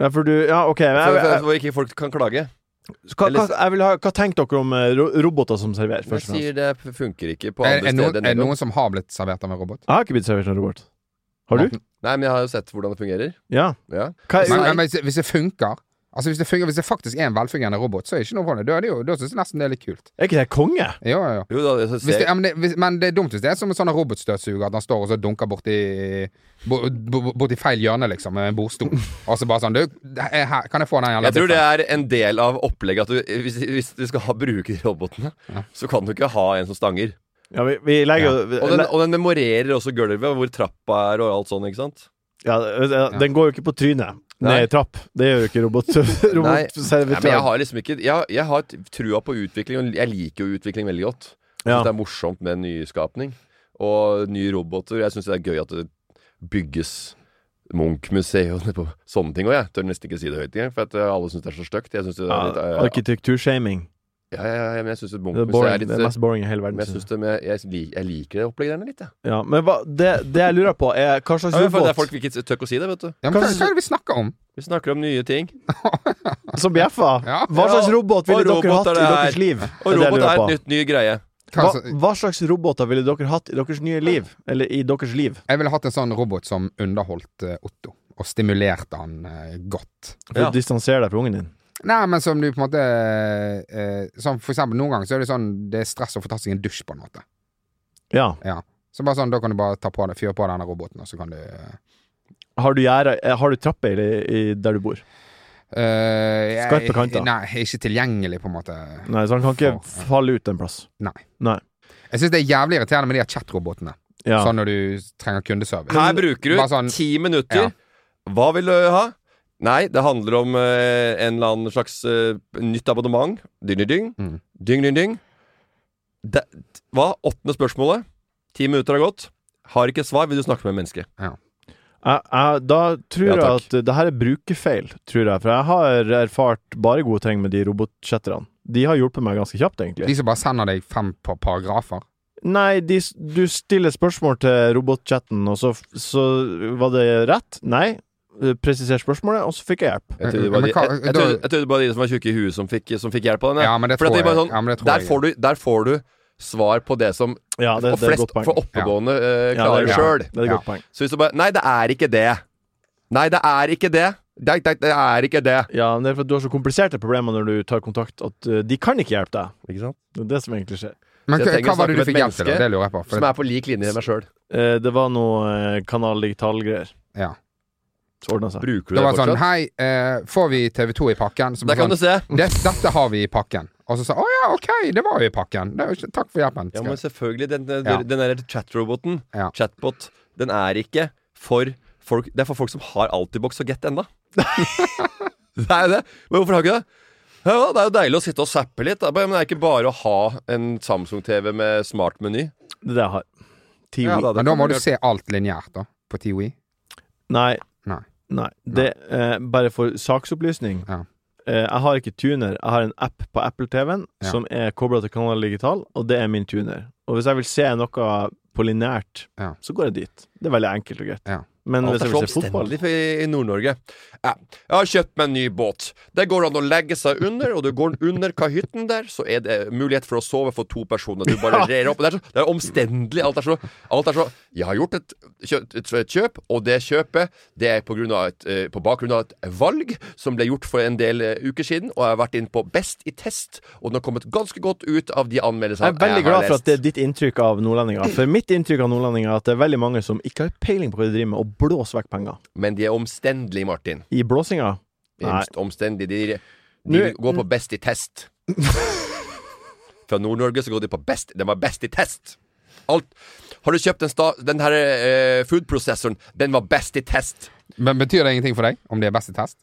S1: Ja, for du Ja, OK. men
S4: For,
S1: Jeg,
S4: for,
S1: jeg,
S4: hvor ikke folk kan klage.
S1: hva, hva, jeg vil ha, hva tenker dere om eh, ro- roboter som serverer?
S4: Jeg
S1: Først og fremst?
S4: sier det funker ikke på
S5: Er,
S4: andre
S5: er, noen,
S4: steder enn
S5: er det
S4: Egon.
S5: noen som har blitt servert av en robot?
S1: Jeg har ikke blitt servert som robot. Har du?
S4: Nei, men jeg har jo sett hvordan det fungerer.
S1: Ja.
S4: Ja.
S1: Hva,
S5: Men, men hvis, det- hvis det funker Altså hvis det, fungerer, hvis det faktisk er en velfungerende robot, så er det ikke noe problem. Da, er det jo- da syns jeg nesten det er litt kult.
S1: er ikke det konge?
S5: Ja, ja, ja.
S4: Jo da, det, så
S5: Hvis det,
S4: ser-
S5: ja, men, det, hvis, men det er dumt hvis det er som en sånn robotstøvsuger, at han står og så dunker borti bo- bo- Borti feil hjørne, liksom, med en bordstol. Og så bare sånn Du, her, her- kan jeg få den jævla
S4: Jeg tror det
S5: biffen?
S4: er en del av opplegget at du, hvis, hvis du skal ha, bruke de robotene, så kan du ikke ha en som stanger.
S1: Ja, vi, vi legger jo
S4: Og den, og den memorerer også gulvet, hvor trappa er og alt sånn, ikke sant?
S1: ja, Den går jo ikke på trynet. Ned
S4: Nei.
S1: i trapp. Det gjør jo ikke robot.
S4: Nei. Nei, men jeg
S1: robotservitør.
S4: har liksom ikke Jeg, jeg har t- trua på utvikling, og jeg liker jo utvikling veldig godt. Jeg synes
S1: Ja.
S4: Det er morsomt med nyskapning og nye roboter. Jeg syns det er gøy at det bygges Munch-museet og på sånne ting òg, jeg. Tør nesten ikke si det høyt engang, for at eh, alle syns det er så stygt. Jeg syns det
S1: Ja,
S4: er litt eh,
S1: Arkitekturshaming.
S4: ja, ja, ja, men jeg syns
S1: Det, er
S4: Munch-museet
S1: boring.
S4: er litt
S1: det er
S4: eh,
S1: mest boring i hele verden.
S4: men jeg,
S1: synes
S4: synes det, men jeg, jeg, lik- jeg liker det opplegget der litt, jeg.
S1: jeg. Ja, men hva, det, det jeg lurer på, er hva slags
S4: Ja, men for det er
S1: robot
S4: folk ikke tør ikke å si det, vet du.
S5: ja, men, hva, hva er det vi snakker om?
S4: Vi snakker om nye ting.
S1: som bjeffer?
S5: Ja.
S1: Hva slags
S4: Ja,
S1: robot ville
S4: og
S1: dere
S4: robot
S1: hatt i
S4: er det
S1: deres
S4: her.
S1: liv?
S4: Og
S1: Det er det jeg
S4: robot
S1: lurer
S4: er
S1: på.
S4: et nytt Altså- ny greie.
S5: Hva,
S1: Hva,
S5: altså, så-
S1: hva slags roboter ville dere hatt i deres nye liv? Eller i deres liv?
S5: jeg ville hatt en sånn robot som underholdt eh, Otto, og stimulerte han eh, godt.
S1: For
S4: Ja.
S1: å distansere deg fra ungen din?
S5: Nei, men som du på en måte eh, Sånn for eksempel noen ganger så er det sånn Det er stress å få tatt seg en dusj, på en måte.
S1: Ja.
S5: Ja. Så bare sånn, da kan du bare ta på det, fyre på denne roboten, og så kan du eh,
S1: Har du, gjerde, eh, har du trappe i, i der du bor?
S5: eh, jeg-
S1: Skarpe kanter.
S5: Nei, ikke tilgjengelig, på en måte.
S1: Nei, så han kan ikke
S5: For-
S1: falle ut en plass.
S5: Nei.
S1: Nei.
S5: Jeg syns det er jævlig irriterende med de her chatrobotene.
S1: Ja.
S5: Sånn når du trenger kundeservice.
S4: Her bruker
S5: Bare
S4: du
S5: sånn,
S4: ti minutter.
S5: Ja.
S4: Hva vil du ha? Nei, det handler om eh, en eller annen slags eh, nytt abonnement. Dyng, dyng, dyng.
S5: Mm.
S4: Dyng, dyng, dyng. Det, hva? Åttende spørsmålet. Ti minutter har gått. Har ikke svar. Vil du snakke med et menneske?
S1: Jeg, jeg, da tror
S4: Ja,
S1: jeg
S4: takk.
S1: at det her er brukerfeil, tror jeg. For jeg har erfart bare gode ting med de robotchatterne. De har hjulpet meg ganske kjapt, egentlig.
S5: De som bare sender deg fem pa- paragrafer.
S1: Nei, de, s- du stiller spørsmål til robotchatten, og så, f- så var det rett? Nei. Eh, Presiser spørsmålet, og så fikk jeg hjelp.
S4: Jeg trodde det
S5: Men
S4: var de-
S5: hva-
S4: jeg- jeg
S5: da-
S4: trodde- jeg trodde det var de som var tjukke i huet, som fikk, som fikk hjelp av den. jeg.
S5: Ja, men det
S4: For at
S5: tror
S4: de bare
S5: jeg.
S4: sånn,
S5: Ja, men det tror
S4: der,
S5: jeg.
S4: får du, der får du svar på det som
S1: Ja, det,
S4: og
S1: det er et
S4: flest
S1: godt poeng.
S4: for oppegående eh,
S1: Ja,
S4: klarer
S1: det er-
S4: sjøl.
S1: Det er et
S5: Ja.
S1: godt poeng.
S4: Så hvis du bare Nei, det er ikke det. Nei, det er ikke det. Det, det, det er ikke det.
S1: Ja, men det er for at du har så kompliserte problemer når du tar kontakt, at eh, de kan ikke hjelpe deg.
S4: Ikke sant?
S1: Det er det som egentlig skjer.
S5: Men
S4: Så
S5: hva,
S4: jeg tenker
S5: hva
S4: å
S5: var
S4: snakke
S5: det du
S4: med et
S5: fikk hjelp til? da?
S4: menneske
S5: Det lurer jeg på. For
S4: Som er på lik linje med meg sjøl.
S1: Eh, Det var noe eh, Kanal Digital-greier.
S5: Ja.
S1: Så ordna seg.
S4: Bruker du
S5: det
S4: det
S5: var
S4: fortsatt?
S5: sånn Hei, eh, får vi TV2 i pakken? Så
S4: Der
S5: bare
S4: kan du
S5: sånn,
S4: se.
S5: det, dette har vi i pakken. Og så sa Å ja, ok, det var jo i pakken. Det, er jo ikke- takk for hjelpen.
S4: Ja,
S5: Skal-
S4: men selvfølgelig. Den, den,
S5: Ja.
S4: den der chat-roboten,
S5: Ja.
S4: chatbot, den er ikke for folk Det er for folk som har Altibox og Get ennå. det er jo det. Men hvorfor har ikke det? Ja, det er jo deilig å sitte og zappe litt. da. Men det er ikke bare å ha en Samsung-TV med smartmeny.
S1: Det er det jeg har. Tiwi.
S4: Ja, da, det
S5: Men da
S4: kan
S5: må
S4: du
S5: du
S4: gjøre.
S5: se alt lineært, da. På TOE.
S1: Nei.
S5: Nei.
S1: Nei. Det, eh, bare for saksopplysning.
S5: Ja.
S1: Eh, jeg har ikke tuner. Jeg har en app på Apple-TV-en
S5: Ja.
S1: som er kobla til Kanal Digital, og det er min tuner. Og hvis jeg vil se noe på lineært,
S5: Ja.
S1: så går jeg dit. Det er veldig enkelt og greit.
S5: Ja.
S1: Men hvis
S4: Alt er
S1: jeg
S4: så
S1: vil se fotball
S4: omstendelig for- i i Nord-Norge. Ja, jeg har kjøpt meg en ny båt. Det går an å legge seg under, og du går under kahytten der, så er det mulighet for å sove for to personer. Du bare rer opp. Det er, så, det er omstendelig. Alt er, så, alt er så Jeg har gjort et kjøp, et, et kjøp og det kjøpet det er på, grunn av et, eh, på bakgrunn av et valg som ble gjort for en del eh, uker siden, og jeg har vært inn på Best i test, og den har kommet ganske godt ut av de anmeldelsene
S1: Jeg er veldig
S4: har
S1: glad for at
S4: lest.
S1: det er ditt inntrykk av nordlendinger. For mitt inntrykk av nordlendinger er at det er veldig mange som ikke har peiling på hva de driver med, og blåser vekk penger.
S4: Men de er omstendelige, Martin.
S1: I blåsinga Nei.
S4: Omst- Omstendig. De, de
S1: Nå-
S4: går på best i test. Fra Nord-Norge så går de på best. Den var best i test. Alt. Har du kjøpt den, sta, den her eh, foodprosessoren? Den var best i test.
S5: Men betyr det ingenting for deg om det er best i test?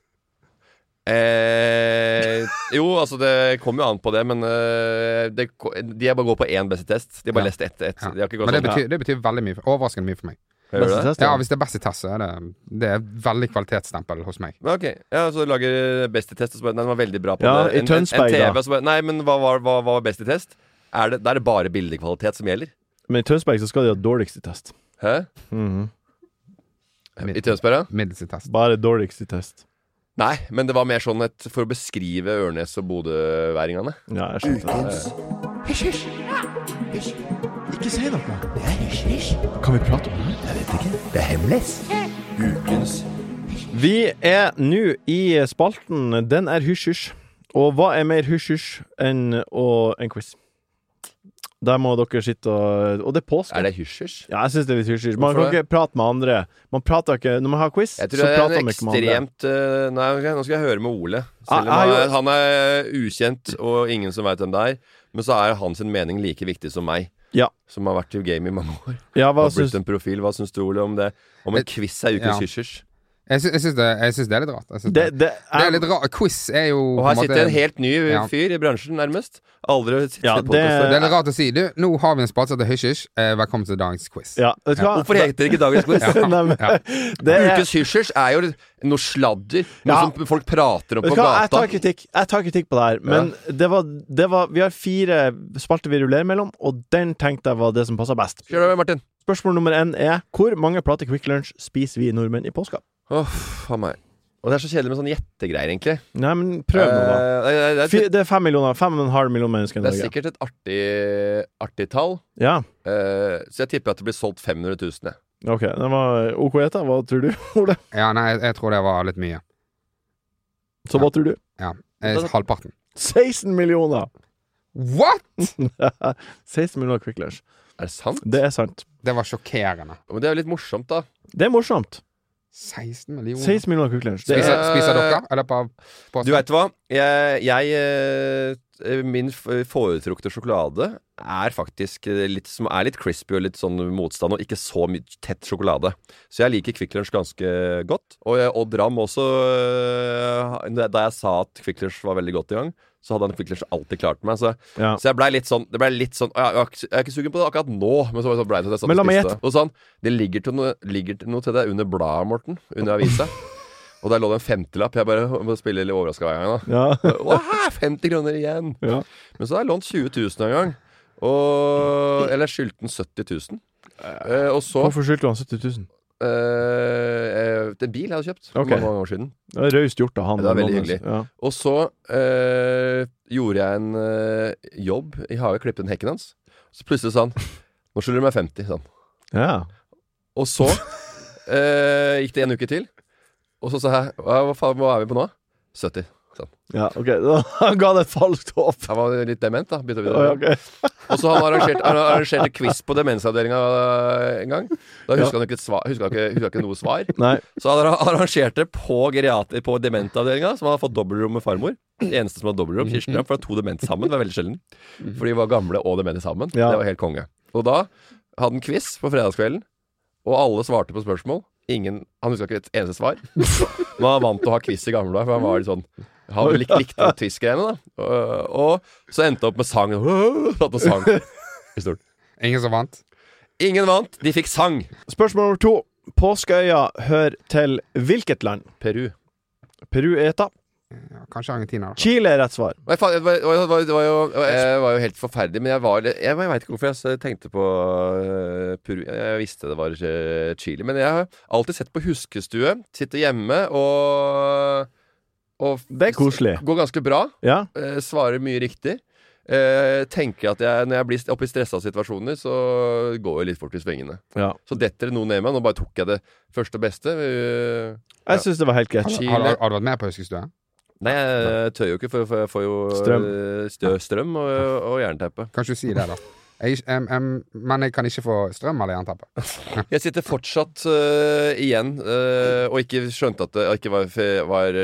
S4: Eh, jo, altså det kommer jo an på det, men eh, det, ko- de er bare går på én best i test. De har
S5: Ja.
S4: bare lest ett. ett.
S5: Ja.
S4: De har ikke gått
S5: Men det
S4: sånn.
S5: betyr, det betyr veldig mye. for- Overraskende mye for meg.
S4: Ja, gjør
S1: Beste
S4: det?
S1: test,
S5: Ja,
S1: ja.
S5: hvis det er best i test, så er det, det er veldig kvalitetsstempel hos meg.
S4: Men ok, ja, Så du lager best i test, og så bare Nei, den var veldig bra på
S1: Ja,
S4: det.
S1: i Tønsberg,
S4: en, en
S1: da.
S4: TV, så bare Nei, men hva var, hva, hva var best i test? er det, da er det bare bildekvalitet som gjelder.
S1: Men i Tønsberg så skal de ha dårligst i test.
S4: Hæ?
S1: Mhm.
S4: I Tønsberg, ja?
S5: Middels i test.
S1: Bare dårligst i test.
S4: Nei, men det var mer sånn et, for å beskrive Ørnes og bodøværingene.
S1: Ja, jeg skjønte det. Ikke si noe. Kan vi prate om det? Vi er nå i spalten Den er hysj-hysj. Og hva er mer hysj-hysj enn å- en quiz? Der må dere sitte og Og det er påske.
S4: Er det hysjers?
S1: Ja, jeg syns det er litt hysj-hysj. Man
S4: Hvorfor
S1: kan ikke prate med andre. Man prater ikke Når man har quiz, så
S4: Jeg tror det er
S1: prater
S4: en
S1: man ikke med andre.
S4: ekstremt eh, Nei, ok, nå skal jeg høre med Ole.
S1: Ah,
S4: Selv om han
S1: ah,
S4: er, han er ukjent og ingen som veit hvem det er. Men så er hans mening like viktig som meg,
S1: Ja.
S4: som har vært i game i mange år.
S1: Ja, hva
S4: Har blitt
S1: syns
S4: en profil. Hva syns du, Ole, om det? Om en quiz er ukens
S5: ja.
S4: hysjers?
S5: Jeg sy- jeg syns det, jeg syns det er litt rart. Jeg syns
S1: det,
S5: det,
S1: det
S5: det er
S1: er,
S5: litt rart. Quiz er jo
S4: Og
S5: på
S4: her
S5: en måte-
S4: sitter en helt ny
S5: Ja.
S4: fyr i bransjen, nærmest. Aldri sittet
S1: Ja,
S4: i
S1: det-
S4: podcast før.
S5: Det er litt rart å si. Du, nå har vi en spalte som heter Hysj Hysj. Eh, Velkommen til dagens quiz.
S1: ja, vet du hva?
S4: Hvorfor heter det ikke dagens quiz?
S1: Nei, men,
S5: Ja.
S1: det er,
S4: Ukens hysjers er jo noe sladder. Noe
S1: Ja.
S4: som folk prater om
S1: vet
S4: på
S1: du hva? Jeg
S4: gata.
S1: tar kritikk Jeg tar kritikk på det her, men det, var, det var Vi har fire spalter vi rullerer mellom, og den tenkte jeg var det som passa best.
S4: Kjør da, Martin.
S1: Spørsmål nummer én er hvor mange plater Quick Lunch spiser vi nordmenn i påska?
S4: Åh, faen meg. Og det er så kjedelig med sånne gjettegreier, egentlig.
S1: Nei, men prøv nå, da.
S4: Eh, det, det,
S1: Fi-
S4: det,
S1: Det er fem millioner. Fem og en halv million mennesker i
S4: det er
S1: Norge.
S4: sikkert et artig, artig tall.
S1: Ja.
S4: Eh, så jeg tipper at det blir solgt 500 000. jeg.
S1: OK. Det var OK gjetta. Hva tror du, Ole?
S5: Ja, nei, jeg, jeg tror det var litt mye.
S1: Så hva tror du?
S5: Ja. Eh, halvparten.
S1: 16 millioner!
S5: What?!
S1: 16 millioner Quick Lunch.
S4: Er det sant?
S1: Det er sant.
S5: Det var sjokkerende.
S4: Men det er jo litt morsomt, da.
S1: Det er morsomt.
S5: 16 millioner.
S1: 16 millioner Quick Lunch. Det
S5: Spiser,
S1: er
S4: Eh,
S5: spiser dere? Eller på, på
S4: Du veit hva? Jeg, jeg eh, Min f- foretrukne sjokolade er faktisk eh, litt, som er litt crispy og litt sånn motstand, og ikke så mye tett sjokolade. Så jeg liker Kvikk Lunsj ganske godt. Og, jeg- og Dram også eh, Da da jeg sa at Kvikk Lunsj var veldig godt i gang, så hadde han Kvikk Lunsj alltid klart meg. Så,
S1: Ja.
S4: så jeg blei litt sånn, det ble litt sånn «Å, jeg, jeg, er ikke- jeg er ikke sugen på det akkurat nå, men så, så blei det sånn. at jeg satt
S1: Men la
S4: og
S1: meg
S4: spiste. Og sånn, det ligger, til noe, ligger til noe til deg under bladet, Morten. Under avisa. Og der lå det en femtelapp. Jeg bare må spille litt overraska hver gang. da
S1: Ja.
S4: Wow, 50 kroner igjen!
S1: Ja.
S4: Men så har jeg lånt 20 000 en gang. Og, eller skyldte den 70 000. Eh, og så
S1: Hvorfor skyldte du han 70 000?
S4: eh, eh, En bil jeg hadde kjøpt for
S1: Ok.
S4: mange, mange år siden.
S1: Det var raust gjort av han.
S4: Det var veldig
S1: Johannes.
S4: hyggelig. Og så eh, gjorde jeg en eh, jobb i hage, klippet den hekken hans. Så plutselig sa han Nå skylder du meg 50, sa han.
S1: Ja. ja.
S4: Og så eh, gikk det en uke til. Og så sa jeg Hva, hva faen, hva er vi på nå? 70. sa han.
S1: ja OK. Han ga det et falskt håp.
S4: Han var litt dement, da. Bytta vi det.
S1: Ja, ok.
S4: Og så han arrangerte, han arrangerte quiz på demensavdelinga en gang. Da huska han ikke, et svar, huska ikke, huska ikke noe svar.
S1: Nei.
S4: Så han arrangerte på, geriat- på dementavdelinga, som han har fått dobbeltrom med farmor. Det eneste som har dobbeltrom, Kirsten Ramm, for det var to demente sammen. Det var veldig sjelden. For de var gamle og demente sammen.
S1: Ja.
S4: Det var helt konge. Og da hadde han quiz på fredagskvelden, og alle svarte på spørsmål. Ingen, han huska ikke et eneste svar. Men han vant til å ha quiz i gamle dager, for han var litt sånn Han lik, likte quiz-greiene, da. Og, og så endte han opp med sang. Satt og sang. I stort.
S5: sånn? Ingen som vant?
S4: Ingen vant, de fikk sang.
S1: Spørsmål nummer to. Påskeøya hører til hvilket land?
S4: Peru.
S1: Peru er et av.
S5: Ja, kanskje Argentina. da.
S1: Chile er rett svar.
S4: Og Jeg, fa- det var, det var, det var, det var, jo, jeg var jo helt forferdelig, men jeg, var, litt- jeg, jeg veit ikke hvorfor jeg s- tenkte på eh, Peru. Jeg visste det var eh, Chile. Men jeg har alltid sett på huskestue. Sitter hjemme og, og
S1: Det er koselig.
S4: Går ganske bra.
S1: Ja.
S4: eh, Svarer mye riktig. Eh, tenker at jeg, Når jeg blir st- oppe i stressa situasjoner, så går jeg litt fort i svingene.
S1: Ja.
S4: Så detter det noe ned meg. Nå bare tok jeg det første og beste. Eh,
S1: Jeg syns det var helt greit.
S5: Har,
S4: Chile.
S5: har, har, har du vært med på Huskestue?
S4: Nei, jeg tør jo ikke, for for jeg får jo
S1: Strøm.
S4: eh, stø, strøm og, og jernteppe.
S5: Kan ikke du si det, da? Jeg, em, em, men jeg kan ikke få strøm eller jernteppe.
S4: Jeg sitter fortsatt eh, igjen eh, og ikke skjønte at det og ikke var, var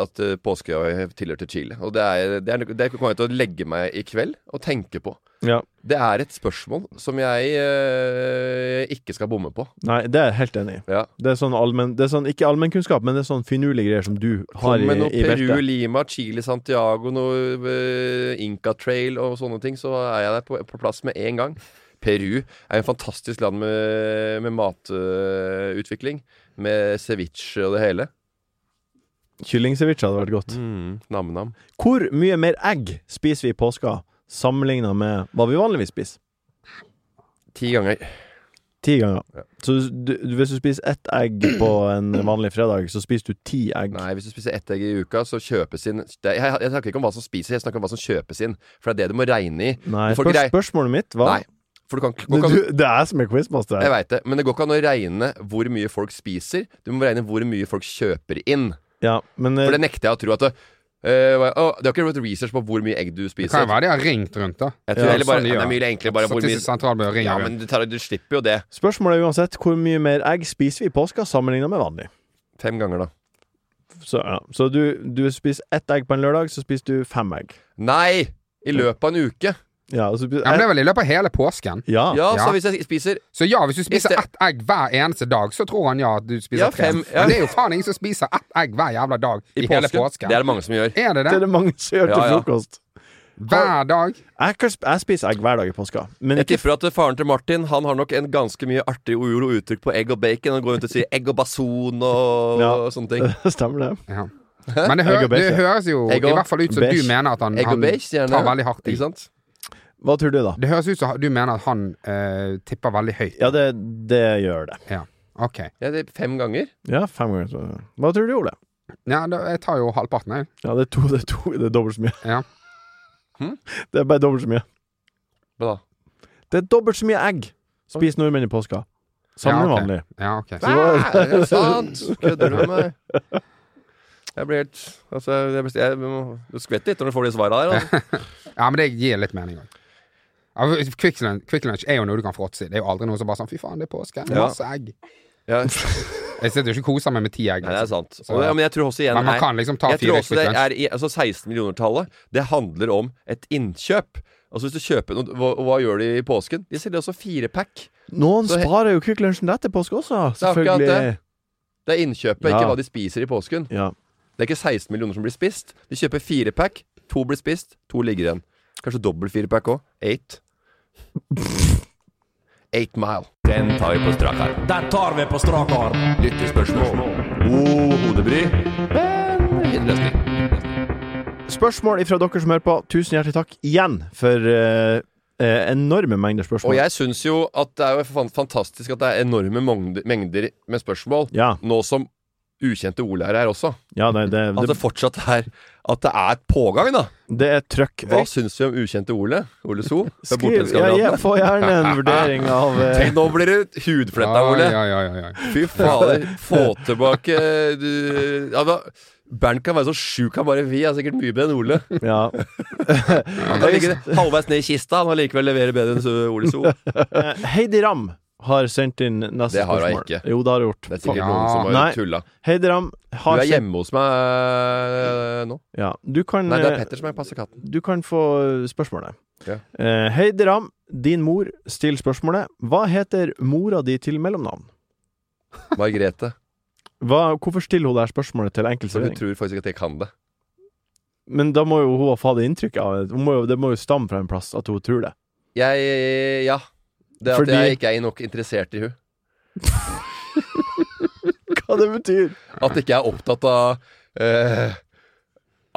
S4: at eh, påskeøya tilhørte Chile. Og det, er, det, er, det kommer jeg til å legge meg i kveld og tenke på.
S1: Ja.
S4: Det er et spørsmål som jeg eh, ikke skal bomme på.
S1: Nei, det er jeg helt enig i.
S4: Ja.
S1: Det er sånn allmenn Det er sånn ikke allmennkunnskap, men det er sånn finurlige greier som du har
S4: Kom
S1: i,
S4: med noe
S1: i
S4: Peru,
S1: beltet.
S4: Lima, Chile, Santiago, noe eh, Inca Trail og sånne ting, så er jeg der på, på plass med en gang. Peru er en fantastisk land med, med matutvikling. med ceviche og det hele.
S1: Kyllingceviche hadde vært godt.
S4: Mm. Nam-nam.
S1: Hvor mye mer egg spiser vi i påska sammenligna med hva vi vanligvis spiser.
S4: Ti ganger.
S1: Ti ganger. Så du, du, hvis du spiser ett egg på en vanlig fredag, så spiser du ti egg.
S4: Nei, hvis du spiser ett egg i uka, så kjøpes inn det- jeg, jeg, jeg snakker ikke om hva som spises, jeg snakker om hva som kjøpes inn. For det er det du må regne i.
S1: Nei,
S4: Folk
S1: spørs,
S4: grei-
S1: spørsmålet mitt var
S4: Nei. For du kan ikke
S1: det,
S4: går ikke an-
S1: du, det er jeg som er quizmaster
S4: Jeg
S1: her.
S4: veit det, men det går ikke an å regne hvor mye folk spiser. Du må regne hvor mye folk kjøper inn.
S1: Ja, men eh,
S4: For det nekter jeg å tro at det, eh, hva- å, Det har ikke gjort research på hvor mye egg du
S5: Det kan
S4: spiser.
S5: jo være de har ringt rundt, da.
S4: Jeg tror
S5: Ja,
S4: heller bare,
S5: sånn de
S4: det
S5: gjør.
S4: er mye enklere bare hvor
S5: Statistisk
S4: mye
S5: sentralbyrå ringer
S4: Ja,
S5: rundt.
S4: men du, tar, du slipper jo det.
S1: spørsmålet er uansett hvor mye mer egg spiser vi i påska sammenligna med vanlig.
S4: Fem ganger, da.
S1: Så, ja. så du, du spiser ett egg på en lørdag, så spiser du fem egg.
S4: Nei! I løpet av en uke.
S1: Ja, og så spiser,
S5: Ja, men det er vel i løpet av hele påsken.
S1: ja.
S4: Ja, så
S5: Ja.
S4: hvis jeg spiser
S5: Så ja, hvis du spiser
S4: Hvis det-
S5: ett egg hver eneste dag, så tror han ja at du spiser
S4: Ja,
S5: tre.
S4: fem, ja.
S5: Men det er jo faen ingen som spiser ett egg hver jævla dag i, hele påsken.
S4: Det er det mange som gjør.
S5: Er det
S1: Det er
S5: det?
S1: det mange som gjør
S4: Ja,
S1: til
S4: ja.
S1: frokost.
S5: Hver dag?
S1: Jeg, kan, sp- jeg spiser egg hver dag i påska, men
S4: Jeg
S1: ikke
S4: tipper at faren til Martin Han har nok en ganske mye artig ord og uttrykk på egg og bacon. Han går rundt og sier egg og bason og,
S1: Ja.
S4: og sånne ting.
S1: Stemmer det.
S5: Ja. Men det, hø
S1: Egg og beige,
S5: det
S1: ja.
S5: høres jo
S4: Egg
S5: i
S4: og
S5: hvert fall ut som
S1: beige.
S5: du mener at han,
S4: Egg og
S5: han
S4: beige, gjerne.
S5: tar veldig hardt i.
S4: Ikke sant?
S1: Hva tror du, da?
S5: Det høres ut som du mener at han eh, tipper veldig høyt.
S1: Ja, det, det gjør det.
S5: Ja. Ok.
S4: Ja, det er fem ganger.
S1: Ja, fem ganger. så- Hva tror du, Ole?
S5: Ja, da, jeg tar jo halvparten, jeg.
S1: Ja, det er to, det er to, det er dobbelt så mye.
S5: Ja.
S4: Hm?
S1: Det er bare dobbelt så mye.
S4: Hva da?
S1: Det er dobbelt så mye egg spiser nordmenn i påska. Sammen med
S5: Ja, ok.
S1: vanlig.
S5: Ja, ok. Så,
S4: Æ, er det sant? Kødder du med meg? Jeg blir helt Altså, jeg, blir- jeg, må- du skvetter litt når du får de svara der. Altså.
S5: ja, men det gir litt mening òg. Ja, for Quick Lunch- Quick Lunch er jo noe du kan fråtse i. Det er jo aldri noen som bare sånn 'fy faen, det er påske',
S4: Ja.
S5: masse egg.
S4: Ja,
S5: Jeg sitter jo ikke og koser meg med ti egg.
S4: nei, det er
S5: Liksom.
S4: sant. Og, ja, men jeg tror også igjen
S5: Men man
S4: er-
S5: kan liksom ta
S4: Jeg tror
S5: fire
S4: også det
S5: Quick Lunch.
S4: er i, altså 16 millioner-tallet. Det handler om et innkjøp. Altså Hvis du kjøper noe, hva, hva gjør de i påsken? De selger også firepack.
S1: Noen
S4: Så he-
S1: sparer jo Quick Lunsjen til påske også,
S4: er akkurat
S1: selvfølgelig.
S4: det. Det er innkjøpet,
S1: Ja.
S4: ikke hva de spiser i påsken.
S1: Ja.
S4: Det er ikke 16 millioner som blir spist. De kjøper firepack. To blir spist, to ligger igjen. Kanskje dobbel firepack òg. Eight. Eight mile.
S9: Den tar vi på strak arm. Den tar vi på strak arm. Lyttespørsmål. God hodebry.
S1: Spørsmål ifra dere som hører på. Tusen hjertelig takk igjen for eh, eh, enorme mengder
S4: Og
S1: spørsmål.
S4: jeg syns jo at det er jo fan- fantastisk at det er enorme mongder- mengder med spørsmål.
S1: Ja,
S4: Nå som ukjente Ole er her også.
S1: ja nei, det,
S4: At
S1: det,
S4: det fortsatt er At det er pågang, da.
S1: det er trøkk.
S4: Hva syns vi om ukjente Ole? Ole So? fra
S1: Skriv ja, ja,
S4: Bortenskameratene?
S1: Få gjerne en vurdering av eh,
S4: Tenk, Nå blir det hudfletta,
S5: Oi,
S4: Ole.
S5: oi, oi, oi.
S4: Fy fader. Få tilbake eh, du, ja, da, Bernt kan være så sjuk han bare vil. Han er sikkert mye bedre enn Ole.
S1: Ja.
S4: Han kan ligge halvveis ned i kista, han har likevel leverer bedre enn så- Ole So. Det
S1: Eh, Heidi Ram har sendt inn neste
S4: Det har hun
S1: spørsmål.
S4: ikke.
S1: Jo, det har hun gjort.
S4: er sikkert
S5: Ja.
S4: noen
S1: Nei.
S4: som har tulla.
S1: Heidi Ram
S4: Du
S1: har
S4: er
S1: sendt-
S4: hjemme hos meg øh, nå.
S1: Ja, du kan,
S4: Nei, det er
S1: eh,
S4: Petter som er passer katten.
S1: du kan få spørsmålet.
S4: Ja.
S1: Eh, Hei, Deram. Din mor stiller spørsmålet Hva heter mora di til mellomnavn?
S4: Margrethe.
S1: Hva, hvorfor stiller hun det her spørsmålet til
S4: Så hun
S1: enkeltservering?
S4: tror faktisk at jeg kan det.
S1: Men da må jo hun ha fått inntrykk av det. Hun må jo, det må jo stamme fra en plass at hun tror det.
S4: Jeg Ja. Det er at
S1: Fordi-
S4: jeg ikke er nok interessert i hun
S1: Hva det betyr?
S4: At ikke jeg er opptatt av eh,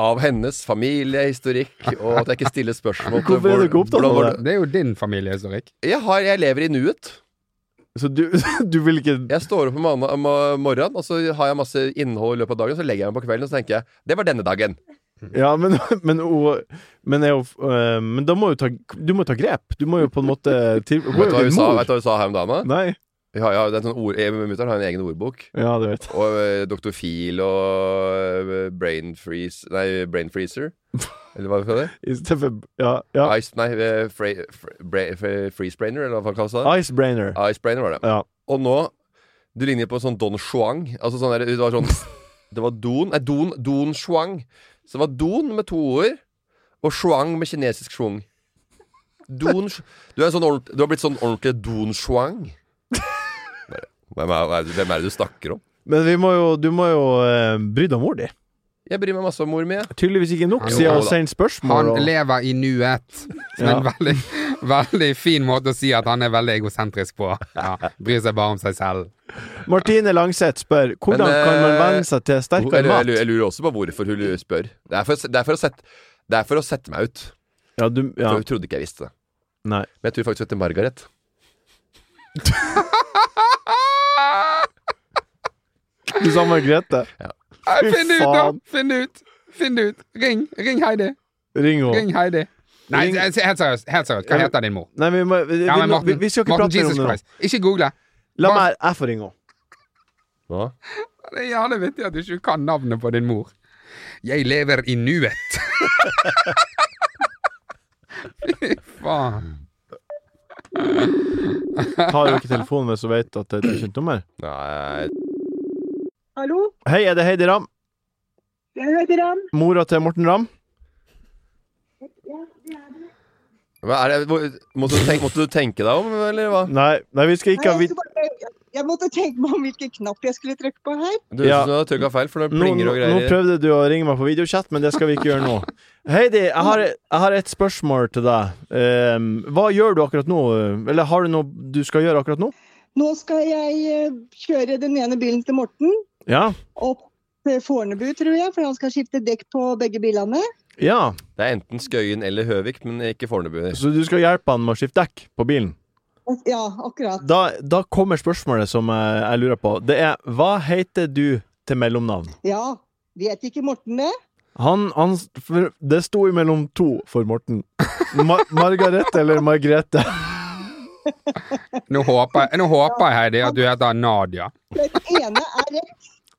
S4: Av hennes familie, historikk, og at jeg ikke stiller spørsmål til
S1: Hvorfor er du ikke
S4: hvor-
S1: opptatt av
S4: hvordan-
S1: det?
S5: Det er jo din familiehistorikk.
S4: Jeg, har, jeg lever i nuet.
S1: Så du, du vil ikke
S4: Jeg står opp om morgen- om morgenen, og så har jeg masse innhold i løpet av dagen. Så legger jeg meg på kvelden og så tenker jeg, det var denne dagen.
S1: Ja, men, men, hun, men, er hun, eh, men da må du ta, du må ta grep. Du må jo på en måte til, Hun er
S4: Vet du hva
S1: jo
S4: hun
S1: din
S4: sa,
S1: mor.
S4: vet du hva hun sa her om dagen? da?
S1: Nei.
S4: Ja, ja, det er en sånn ord, Mutter'n har en egen ordbok.
S1: Ja, det vet jeg.
S4: Og eh, Dr. Phil og eh, Brain Freeze Nei, Brain Freezer. Eller hva kaller det?
S1: I stedet for Ja. ja.
S4: Ice, nei, eh, fre, fre, bre- fre, Freeze Brainer, eller hva kalles det?
S1: Icebrainer.
S4: Ice Brainer var det.
S1: Ja.
S4: Og nå Du ligner på en sånn Don Shuang. Altså sånn der, det var sånn Det var Don Nei, Don, Don Shuang. Så det var Don med to ord, og Shuang med kinesisk schwung. Don Sh- Du, er en sånn ordent- du har blitt sånn ordentlig Don Shuang. Bare, Hvem er, hvem er- hvem er det du snakker om?
S1: Men vi må jo, du må jo eh, bry deg om mor di.
S4: Jeg bryr meg masse om mor mi. jeg.
S1: Tydeligvis ikke nok,
S5: Han-
S1: siden
S4: Jo
S1: hun
S4: da.
S1: sender
S5: Han
S1: spørsmål. Og...
S5: lever i nuet. Som er en veldig, veldig fin måte å si at han er veldig egosentrisk på. Ja, bryr seg bare om seg selv.
S1: Martine Langseth spør hvordan
S4: Men, eh,
S1: kan man venne seg til
S4: Jeg
S1: sterkere
S4: lurer, jeg
S1: mat?
S4: lurer også på hvorfor hun spør. Det er for, å se- det er for, å, sette, det er for å sette meg ut.
S1: Ja, du ja.
S4: For jeg trodde ikke jeg visste det.
S1: Nei.
S4: Men jeg tror faktisk hun heter Margaret.
S1: Du sa Margrethe.
S5: Nei,
S1: Fy
S5: Finn det ut, da!
S1: faen.
S5: Finn det ut! Finn det ut. Ring. Ring Heidi.
S1: Ring henne.
S5: Ring Heidi. Nei,
S1: Ring-
S5: helt seriøst. Helt seriøst. Hva heter din mor?
S1: Nei, vi, må, vi,
S5: Ja, men
S1: vi, vi,
S5: Morten,
S1: vi skal ikke
S5: Morten
S1: prate mer
S5: Jesus
S1: om det nå.
S5: Christ. Ikke google.
S1: La meg Jeg får ringe henne.
S4: Hva?
S5: Det er jævlig vittig at du ikke kan navnet på din mor. Jeg lever i nuet. Fy faen.
S1: Tar jo ikke telefonen hvis hun vet at det er et ukjent nummer.
S4: Nei
S10: Hallo,
S1: Hei, er det Heidi Ram?
S10: jeg heter Ram.
S1: Mora til Morten Ram?
S4: hva er det? hvor- Måtte du, tenke, måtte du tenke deg om, eller hva?
S1: Nei, nei vi skal ikke ha
S10: Nei,
S1: vit...
S10: jeg, skulle bare, jeg måtte tenke meg om hvilken knapp jeg skulle trykke på her.
S4: Du høres
S1: Ja.
S4: ut som du har trykka feil, for det
S1: Nå,
S4: plinger
S1: nå
S4: og
S1: nå
S4: greier.
S1: prøvde du å ringe meg på videochat, men det skal vi ikke gjøre nå. Heidi, jeg har, jeg har et spørsmål til deg. Ehm, hva gjør du akkurat nå? Eller har du noe du skal gjøre akkurat nå?
S10: Nå skal jeg eh, kjøre den ene bilen til Morten
S1: Ja.
S10: opp til Fornebu, tror jeg, for han skal skifte dekk på begge bilene.
S1: ja.
S4: Det er enten Skøyen eller Høvik, men ikke Fornebu.
S1: Så du skal hjelpe han med å skifte dekk på bilen?
S10: Ja, akkurat.
S1: Da, da kommer spørsmålet som jeg, jeg lurer på. Det er hva heter du til mellomnavn?
S10: Ja, vet ikke Morten det?
S1: Han, han for, Det sto imellom to for Morten. Ma Margarete eller Margrethe?
S5: Nå håper, jeg- nå håper jeg, Heidi, at du heter Nadia.
S10: Den ene er rett.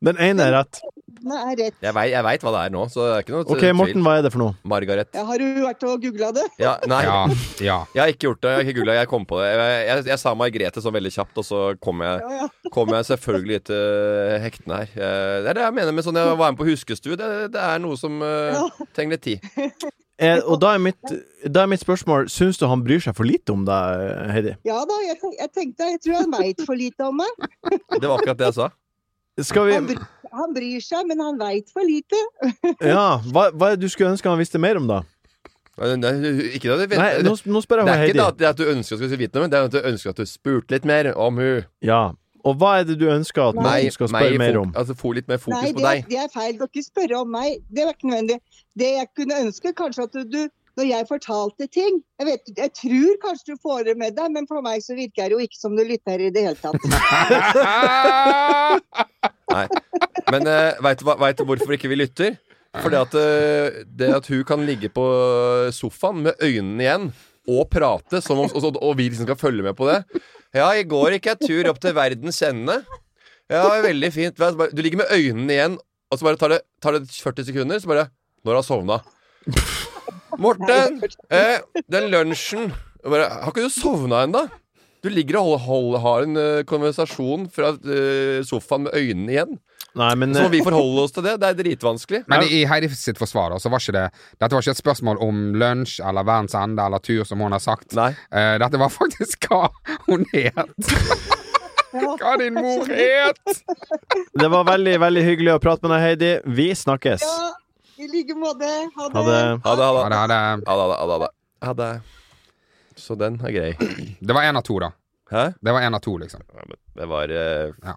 S1: Den ene er rett.
S10: Den ene er rett.
S4: Jeg vei- jeg veit hva det er nå, så det er ikke noe
S1: OK, Morten, hva er det for noe?
S4: Margaret.
S10: Ja, har du vært og googla det?
S4: Ja, nei.
S5: Ja. ja.
S4: Jeg har ikke gjort det. Jeg har ikke googlet, jeg kom på det. Jeg, jeg, jeg sa Margrethe sånn veldig kjapt, og så kom jeg,
S10: Ja, ja.
S4: kom jeg selvfølgelig litt eh, hektende her. Eh, Det er det jeg mener med sånn jeg var med på huskestue. Det, det er noe som eh, trenger litt tid.
S1: Eh, og da er, mitt, da er mitt spørsmål Syns du han bryr seg for lite om deg, Heidi?
S10: Ja da, jeg, tenk- jeg tenkte jeg tror han veit for lite om meg.
S4: Det var akkurat det jeg sa.
S1: Skal vi
S10: Han bryr, han bryr seg, men han veit for lite.
S1: Ja, hva, hva er det du skulle ønske han visste mer om, da?
S4: Nei, nei, eh, Ikke det, det,
S1: Nei, nå, nå spør
S4: det
S1: jeg hva
S4: er ikke
S1: Heidi.
S4: det at, det at du ønsker at du skal vite noe, men det er at du ønsker at du spurte litt mer om hun.
S1: Ja. Og hva er det du ønsker at
S4: Meg-
S1: Morten skal
S4: meg i
S1: spørre mer
S4: fok-
S1: om?
S4: Altså få litt mer fokus
S10: Nei,
S4: på
S10: det, er-
S4: deg.
S10: det er feil. Du kan ikke spørre om meg. Det var ikke nødvendig. Det jeg kunne ønske, kanskje at du Når jeg fortalte ting Jeg, vet, jeg tror kanskje du får det med deg, men for meg så virker det jo ikke som du lytter i det hele tatt.
S4: Nei. Men uh, veit du hva- vet du hvorfor ikke vi lytter? Fordi at eh, det at hun kan ligge på sofaen med øynene igjen og prate, som om, og, og vi liksom skal følge med på det. Ja, i går gikk jeg tur opp til verdens ende. Ja, veldig fint. Vet Du bare- du ligger med øynene igjen, og så bare tar det, tar det 40 sekunder, så bare Når har hun sovna? Morten! Eh, den lunsjen Jeg bare, Har ikke du sovna ennå? Du ligger og hold, hold, har en eh, konversasjon fra eh, sofaen med øynene igjen.
S1: Nei, men
S4: Så må
S1: eh,
S4: vi forholde oss til det. Det er dritvanskelig.
S5: Men i Heidi sitt forsvar da, så var ikke det Dette var ikke et spørsmål om lunsj eller verdens ende eller tur, som hun har sagt.
S4: Nei.
S5: Eh, dette var faktisk hva hun het. hva din mor het!
S1: eh, det var veldig, veldig hyggelig å prate med deg, Heidi. Vi snakkes.
S10: Ja, I like måte. Ha det.
S1: Ha det.
S4: Ha det,
S5: Ja,
S4: ha
S5: det,
S4: det.
S5: hadde-
S4: Ha det, ha det, ha det. Ha det. Så den er grei.
S5: det var én av to, da.
S4: Hæ?
S5: Det var en av to, liksom.
S4: Ja, men Det var eh,
S5: Ja.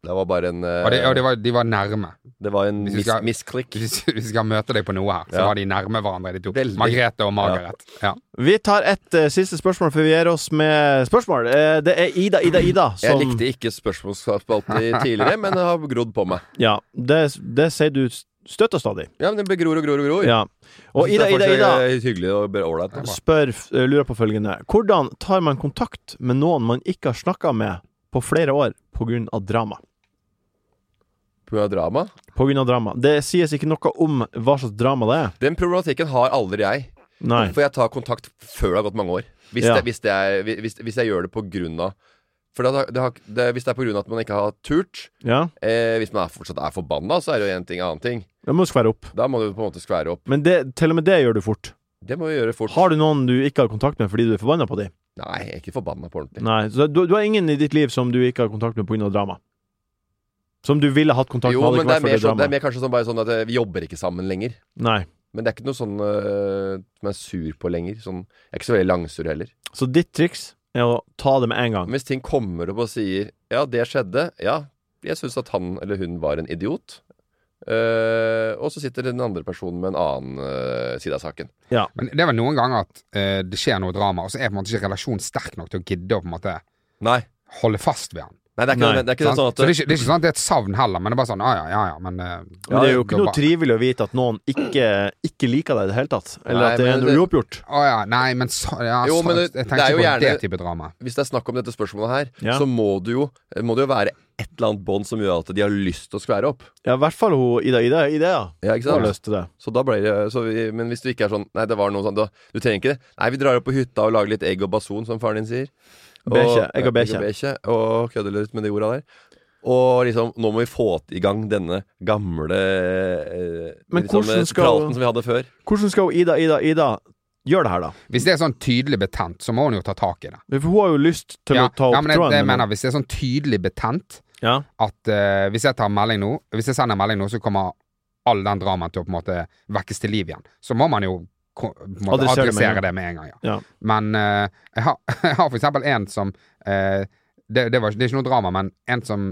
S4: Det var bare en eh,
S5: Og, det, og det var, de var nærme.
S4: det var en
S5: Hvis vi
S4: mis,
S5: skal-
S4: misklikk.
S5: Hvis hvis vi skal møte deg på noe her, så
S4: Ja.
S5: var de nærme hverandre, de to.
S4: Veldig.
S5: Margrethe og Margaret. Ja.
S1: Vi tar et eh, siste spørsmål før vi gir oss med spørsmål. Eh, det er Ida, Ida, Ida som
S4: Jeg likte ikke spørsmålsspalten i tidligere, men det har grodd på meg.
S1: Ja, det, det sier du støtt og stadig.
S4: Ja, men Den gror og gror og gror.
S1: Ja. Og
S4: Jeg
S1: Ida,
S4: synes det er
S1: Ida, Ida
S4: fortsatt, eh, Hyggelig og bare ålreit.
S1: spør, eh, lurer på følgende Hvordan tar man kontakt med noen man ikke har snakka med på flere år pga. drama?
S4: På grunn av drama.
S1: På grunn av drama. Det sies ikke noe om hva slags drama det er.
S4: Den problematikken har aldri jeg.
S1: Nei.
S4: For jeg tar kontakt før det har gått mange år. Hvis,
S1: Ja.
S4: det, hvis, det er, hvis, hvis jeg gjør det på grunn av for det har, det har, det, Hvis det er på grunn av at man ikke har turt,
S1: Ja,
S4: eh, hvis man er, fortsatt er forbanna, så er det jo én ting annen ting.
S1: det må skvære opp.
S4: Da må du på en måte skvære opp.
S1: Men det, til og med det gjør du fort.
S4: Det må vi gjøre fort.
S1: Har du noen du ikke har kontakt med fordi du er forbanna på dem?
S4: Nei, jeg er ikke forbanna på ordentlig.
S1: Nei, så du, du har ingen i ditt liv som du ikke har kontakt med pga. drama? Som du ville hatt kontakt med?
S4: Jo,
S1: hadde
S4: men
S1: ikke
S4: det
S1: vært
S4: er,
S1: for
S4: mer
S1: det
S4: sånn, det
S1: drama.
S4: er mer kanskje sånn, bare sånn at eh, vi jobber ikke sammen lenger.
S1: Nei.
S4: Men det er ikke noe sånn eh, som jeg er sur på lenger. Sånn, jeg er ikke så veldig langsur heller.
S1: Så ditt triks er å ta det med en gang.
S4: Men hvis ting kommer opp og sier 'ja, det skjedde', ja, jeg syns at han eller hun var en idiot. Eh, og så sitter den andre personen med en annen eh, side av saken.
S1: Ja.
S5: Men det er vel noen ganger at eh, det skjer noe drama, og så er på en måte ikke relasjonen sterk nok til å gidde å på en måte
S4: Nei,
S5: holde fast ved han.
S4: Nei det er ikke,
S1: Nei.
S4: noe- Det er ikke
S5: sant?
S4: sånn at
S5: så det er, ikke, det er ikke sånn at det er et savn heller, men det er bare sånn ja, ja, ja, ja, men eh,
S1: Men det er jo ikke noe
S5: bare-
S1: trivelig å vite at noen ikke, ikke liker deg i det hele tatt. Eller
S4: Nei,
S1: at det er
S4: men
S1: noe
S4: det-
S1: uoppgjort.
S5: Å ja, nei, men så, ja,
S4: Jo,
S5: så,
S4: men det-
S5: jeg
S4: det
S5: tenkte
S4: er jo
S5: ikke på det
S4: gjerne-
S5: type drama.
S4: hvis det er snakk om dette spørsmålet her,
S1: Ja.
S4: så må det jo, må det jo være et eller annet bånd som gjør at de har lyst til å skvære opp.
S1: Ja, i hvert fall hun Ida Ida. Ida ja.
S4: Ja, ikke
S1: Hun har
S4: sant?
S1: lyst til det.
S4: Så da ble det, så vi, men hvis du ikke er sånn Nei, det var noe sånn da, Du trenger ikke det. Nei, vi drar opp på hytta og lager litt egg og bason, som faren din sier. Og-
S1: Bekje, egg og
S4: Ja,
S1: bekje.
S4: og kødder litt med de orda der. Og liksom, nå må vi få i gang denne gamle eh,
S1: Men
S4: liksom,
S1: hvordan
S4: eh,
S1: skal-
S4: praten som vi hadde før.
S1: Hvordan skal hun Ida Ida Ida gjøre det her, da?
S5: Hvis det er sånn tydelig betent, så må hun jo ta tak i det.
S1: For hun har jo lyst til
S5: Ja,
S1: å ta opp
S5: ja, men jeg,
S1: tråden.
S5: jeg
S1: men-
S5: mener, hvis det er sånn tydelig betent
S1: ja.
S5: at eh, hvis jeg tar melding nå, hvis jeg sender melding nå, så kommer all den dramaen til å på en måte vekkes til liv igjen. Så må man jo ko- på en måte,
S1: Adressere det med en
S5: adressere
S1: gang.
S5: det med en gang. Ja.
S1: Ja.
S5: Men eh, jeg, har, jeg har for eksempel en som eh, det, det, var, det er ikke noe drama, men en som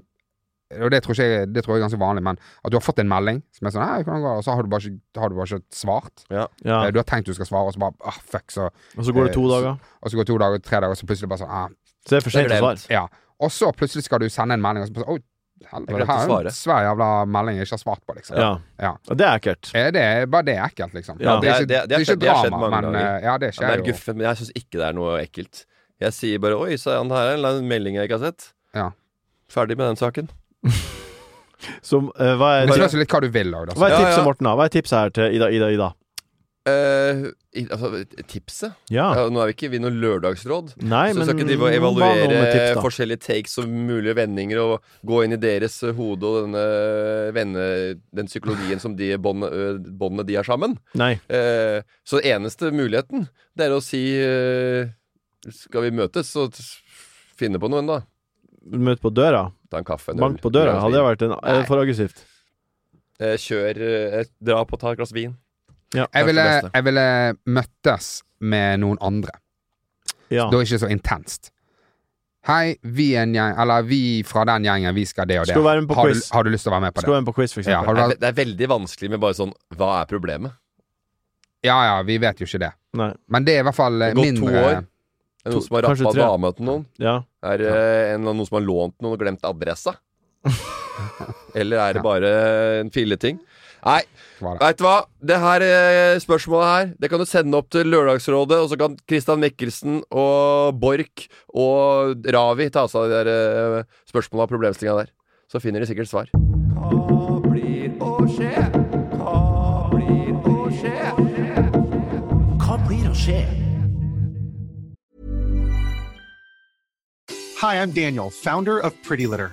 S5: og det tror, ikke jeg, det tror jeg er ganske vanlig, men at du har fått en melding som er sånn «Hei, hvordan går det?» Og så har du bare ikke, har du bare ikke svart.
S1: ja.
S5: Eh, Du har tenkt du skal svare, og så bare ah, fuck, så
S1: Og så går det to
S5: eh, så-
S1: dager.
S5: Og så går det to dager, tre dager, og så plutselig bare sånn ah,
S1: Så det er for
S4: Det
S1: sent
S4: er
S1: å svare.
S4: glemt.
S5: ja. Og så plutselig skal du sende en melding, og så bare sånn, Oi,
S4: Jeg
S5: helvete,
S4: glemte
S5: det
S4: å
S5: her er
S4: svare.
S5: en svær jævla melding jeg ikke har svart på, liksom.
S1: Ja.
S5: Ja.
S1: Og det er ekkelt.
S5: Eh, Det er bare det er ekkelt, liksom.
S1: Ja,
S5: det, er ikke,
S4: det er- det er-
S5: ikke
S4: det har skjedd
S5: drama,
S4: mange
S5: men
S4: ganger.
S5: eh, ja, det
S4: Ja, det
S5: skjer
S4: er
S5: jo.
S4: guffen, men jeg syns ikke det er noe ekkelt. Jeg sier bare 'oi, sa han her er en eller annen melding jeg ikke har sett'.
S5: Ja.
S4: Ferdig med den saken.
S1: Som, eh, hva er,
S5: Men det spørs jo litt hva du vil òg, da. altså.
S1: hva er
S4: Ja,
S1: tipset,
S4: ja.
S1: Morten? da? Hva er tipset her til Ida Ida Ida?
S4: Eh, i, altså, tipset?
S1: Ja.
S4: Ja, nå er vi ikke vi noe lørdagsråd.
S1: Ah. Nei,
S4: så
S1: men
S4: skal ikke drive og
S1: hva med noe med
S4: evaluere
S1: tips, da?
S4: forskjellige takes og mulige vendinger og gå inn i deres eh, hode og denne eh, venne, den psykologien som de bånd- ø, båndene de har sammen.
S1: Nei.
S4: Eh, så eneste muligheten, det er å si eh, Skal vi møtes og t- finne på noe ennå?
S1: Møte på døra?
S4: Ta en kaffe, en
S1: Bank på døra?
S4: Glass
S1: Hadde det
S4: vin.
S1: vært en, er det for aggressivt?
S4: Eh, Kjør eh, Dra på, ta et glass vin.
S1: Ja.
S5: Jeg ville,
S4: det beste.
S5: jeg ville møttes med noen andre.
S1: ja.
S5: Da er det ikke så intenst. Hei, vi er en gjeng, eller vi fra den gjengen, vi skal det og det.
S1: Skal du være med på
S5: har,
S1: quiz?
S5: du, har du lyst til å være med på
S1: Skal
S5: det?
S1: være med på quiz, for
S5: Ja,
S1: eksempel.
S5: har du,
S4: Det er,
S5: vært-
S4: det er veldig vanskelig med bare sånn Hva er problemet?
S5: ja, ja, vi vet jo ikke det.
S1: Nei.
S5: Men det er i hvert fall eh,
S4: Det har gått to
S5: mindre
S4: år. Er det
S1: To-
S4: noen som har
S1: kanskje
S4: rappa
S1: tre.
S4: dama til noen?
S1: Ja.
S4: Er det en eller annen noen som har lånt noen og glemt adressa? eller er det bare en filleting? Nei,
S5: Var det.
S4: veit du hva? Det her eh, spørsmålet her Det kan du sende opp til Lørdagsrådet, og så kan Christian Mikkelsen og Borch og Ravi ta seg av de der eh, spørsmåla og problemstillinga der. Så finner de sikkert svar.
S9: Hva blir å skje? Hva blir å skje? Hva blir å skje?
S11: Hi, I'm Daniel, founder of Pretty Litter.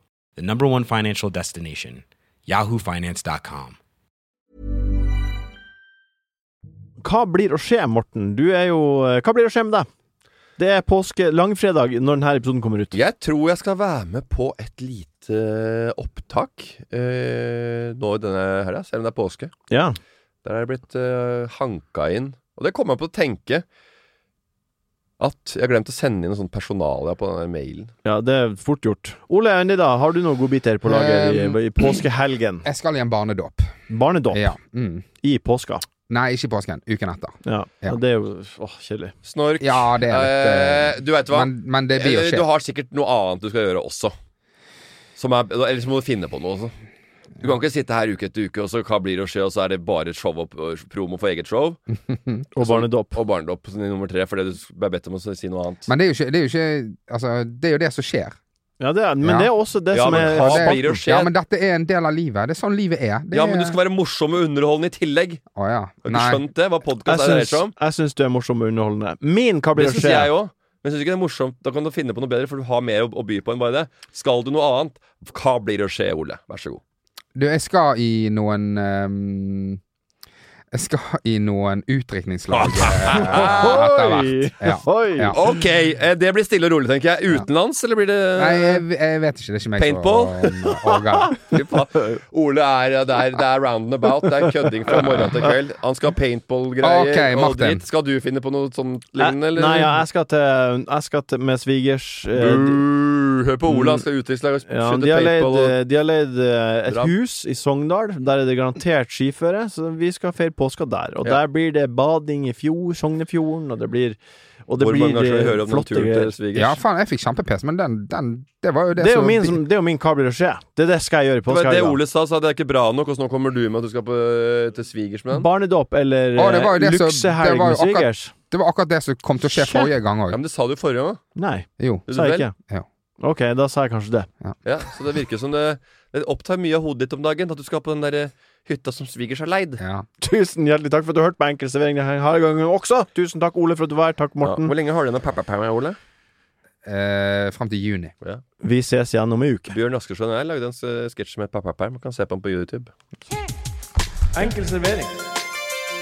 S12: the number one financial destination, yahoofinance.com.
S1: Hva blir å skje, Morten? Du er jo eh, Hva blir å skje med deg? Det er påske langfredag når denne episoden kommer ut.
S4: Jeg tror jeg skal være med på et lite opptak eh, nå i denne helga, selv om det er påske.
S1: Ja.
S4: Der er jeg blitt eh, hanka inn. Og det kom jeg på å tenke at jeg har glemt å sende inn en sånn personalia på den der mailen.
S1: ja, det er fort gjort. Ole Nida, har du noen godbiter på lager i,
S5: Um,
S1: i påskehelgen?
S5: Jeg skal i en barnedåp.
S1: Barnedåp
S5: Ja. Mm.
S1: i påska.
S5: Nei, ikke i påsken. Uken etter.
S1: Ja.
S5: Ja.
S1: Og Det er jo Åh, kjedelig.
S4: Snork.
S5: Ja, det er litt,
S4: Eh, du veit hva.
S5: Men, men det blir jo
S4: Eh,
S5: skje.
S4: Du har sikkert noe annet du skal gjøre også. Som er, eller så må du finne på noe. Også. Du kan ikke sitte her uke etter uke, og så hva blir det å skje, og så er det bare show opp, promo for eget show.
S1: Og barnedåp.
S4: Og barnedåp som nummer tre, fordi du ble bedt om å si noe annet.
S5: Men det er jo ikke, det er jo ikke Altså, det er jo det som skjer.
S1: Ja, det er, men det er også det
S4: Ja,
S1: som
S4: men
S1: er
S4: hva
S1: spalten.
S4: blir det å skje?
S5: Ja, men dette er en del av livet. Det er sånn livet er. Det
S4: Ja, men
S5: er-
S4: du skal være morsom og underholdende i tillegg.
S5: Å ja.
S4: Har du
S5: Nei.
S4: ikke skjønt det? Hva podkast
S1: Jeg
S4: er det her
S1: syns,
S4: om?
S1: jeg syns du er morsom og underholdende. Min hva
S4: Det
S1: blir det å
S4: syns
S1: skje?
S4: jeg òg. Men syns du ikke det er morsomt? Da kan du finne på noe bedre, for du har mer å, å by på enn bare det. Skal du noe annet? Hva blir det å skje, Ole? Vær så god.
S5: Du, jeg skal i noen ehm, Jeg skal i noen utdrikningslag eh, etter hvert. Ja. Ja.
S4: Ok, eh, det blir stille og rolig, tenker jeg. Utenlands, eller blir det
S5: Nei, jeg, jeg vet ikke. Det er ikke meg
S4: Paintball?
S5: som orger.
S4: Fy faen. Ole er det, er det er round and about. Det er kødding fra morgen til kveld. Han skal ha paintball-greier
S5: Ok,
S4: og
S5: Martin.
S4: dritt. Skal du finne på noe sånt
S1: Jeg,
S4: lignende, eller?
S1: Eh, nei, ja, jeg skal til, jeg skal til med svigers eh,
S4: Buh, hør på Ole, han skal utdrikningslag og
S1: ja,
S4: skyte
S1: de, har leid,
S4: paintball. Og...
S1: eh, de har leid eh, et
S4: Drap.
S1: hus i Sogndal. Der er det garantert skiføre, så vi skal feire påska der. Og der blir det bading i fjord, Sognefjorden, og det blir og det
S4: Hvor mange
S1: blir
S4: ganger skal vi
S1: eh,
S4: høre om den
S1: flotte
S4: turen til
S1: greier.
S4: svigers?
S5: Ja, faen, jeg fikk kjempepes, men den, den Det var jo det,
S1: Det er jo
S5: som-
S1: min, som, det er jo min hva blir det å skje. Det er det skal jeg gjøre i
S4: Det var det
S1: påskehelga.
S4: Ole sa, sa det er ikke bra nok, og så nå kommer du med at du skal på, eh, til svigers med den.
S1: Barnedåp eller
S4: Ah,
S5: Å, det var
S1: eh,
S5: jo det som- det
S1: luksehelg
S5: var jo
S1: med
S5: akkurat-
S1: svigers.
S5: Det var akkurat det som kom til å skje
S4: Shit.
S5: forrige gang òg.
S4: Ja, men det sa du forrige gang òg.
S1: Nei,
S5: Jo.
S1: sa jeg ikke.
S5: Ja.
S1: Ok, da sa jeg kanskje det.
S4: Ja, så det virker som det, det opptar mye av hodet ditt om dagen, at du skal på den der eh, hytta som svigers har leid.
S5: Ja.
S1: Tusen hjertelig takk for at du hørte på Enkel servering denne gangen også. Tusen takk, Ole, for at du var her. Takk,
S4: Ja.
S1: Morten.
S4: Hvor lenge har du igjen av pappaperma, Ole?
S5: Eh, Fram til juni.
S4: Ja.
S1: Vi ses igjen om ei uke.
S4: Bjørn Askersson og jeg lagde en eh, sketsj med pappaperm. Man kan se på den på YouTube.
S1: Enkel servering.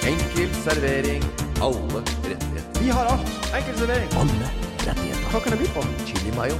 S2: Enkel servering. Alle rettigheter.
S1: Vi har alt. Enkel servering.
S2: Alle rettigheter.
S1: Hva kan jeg by på?
S2: Chili mayo.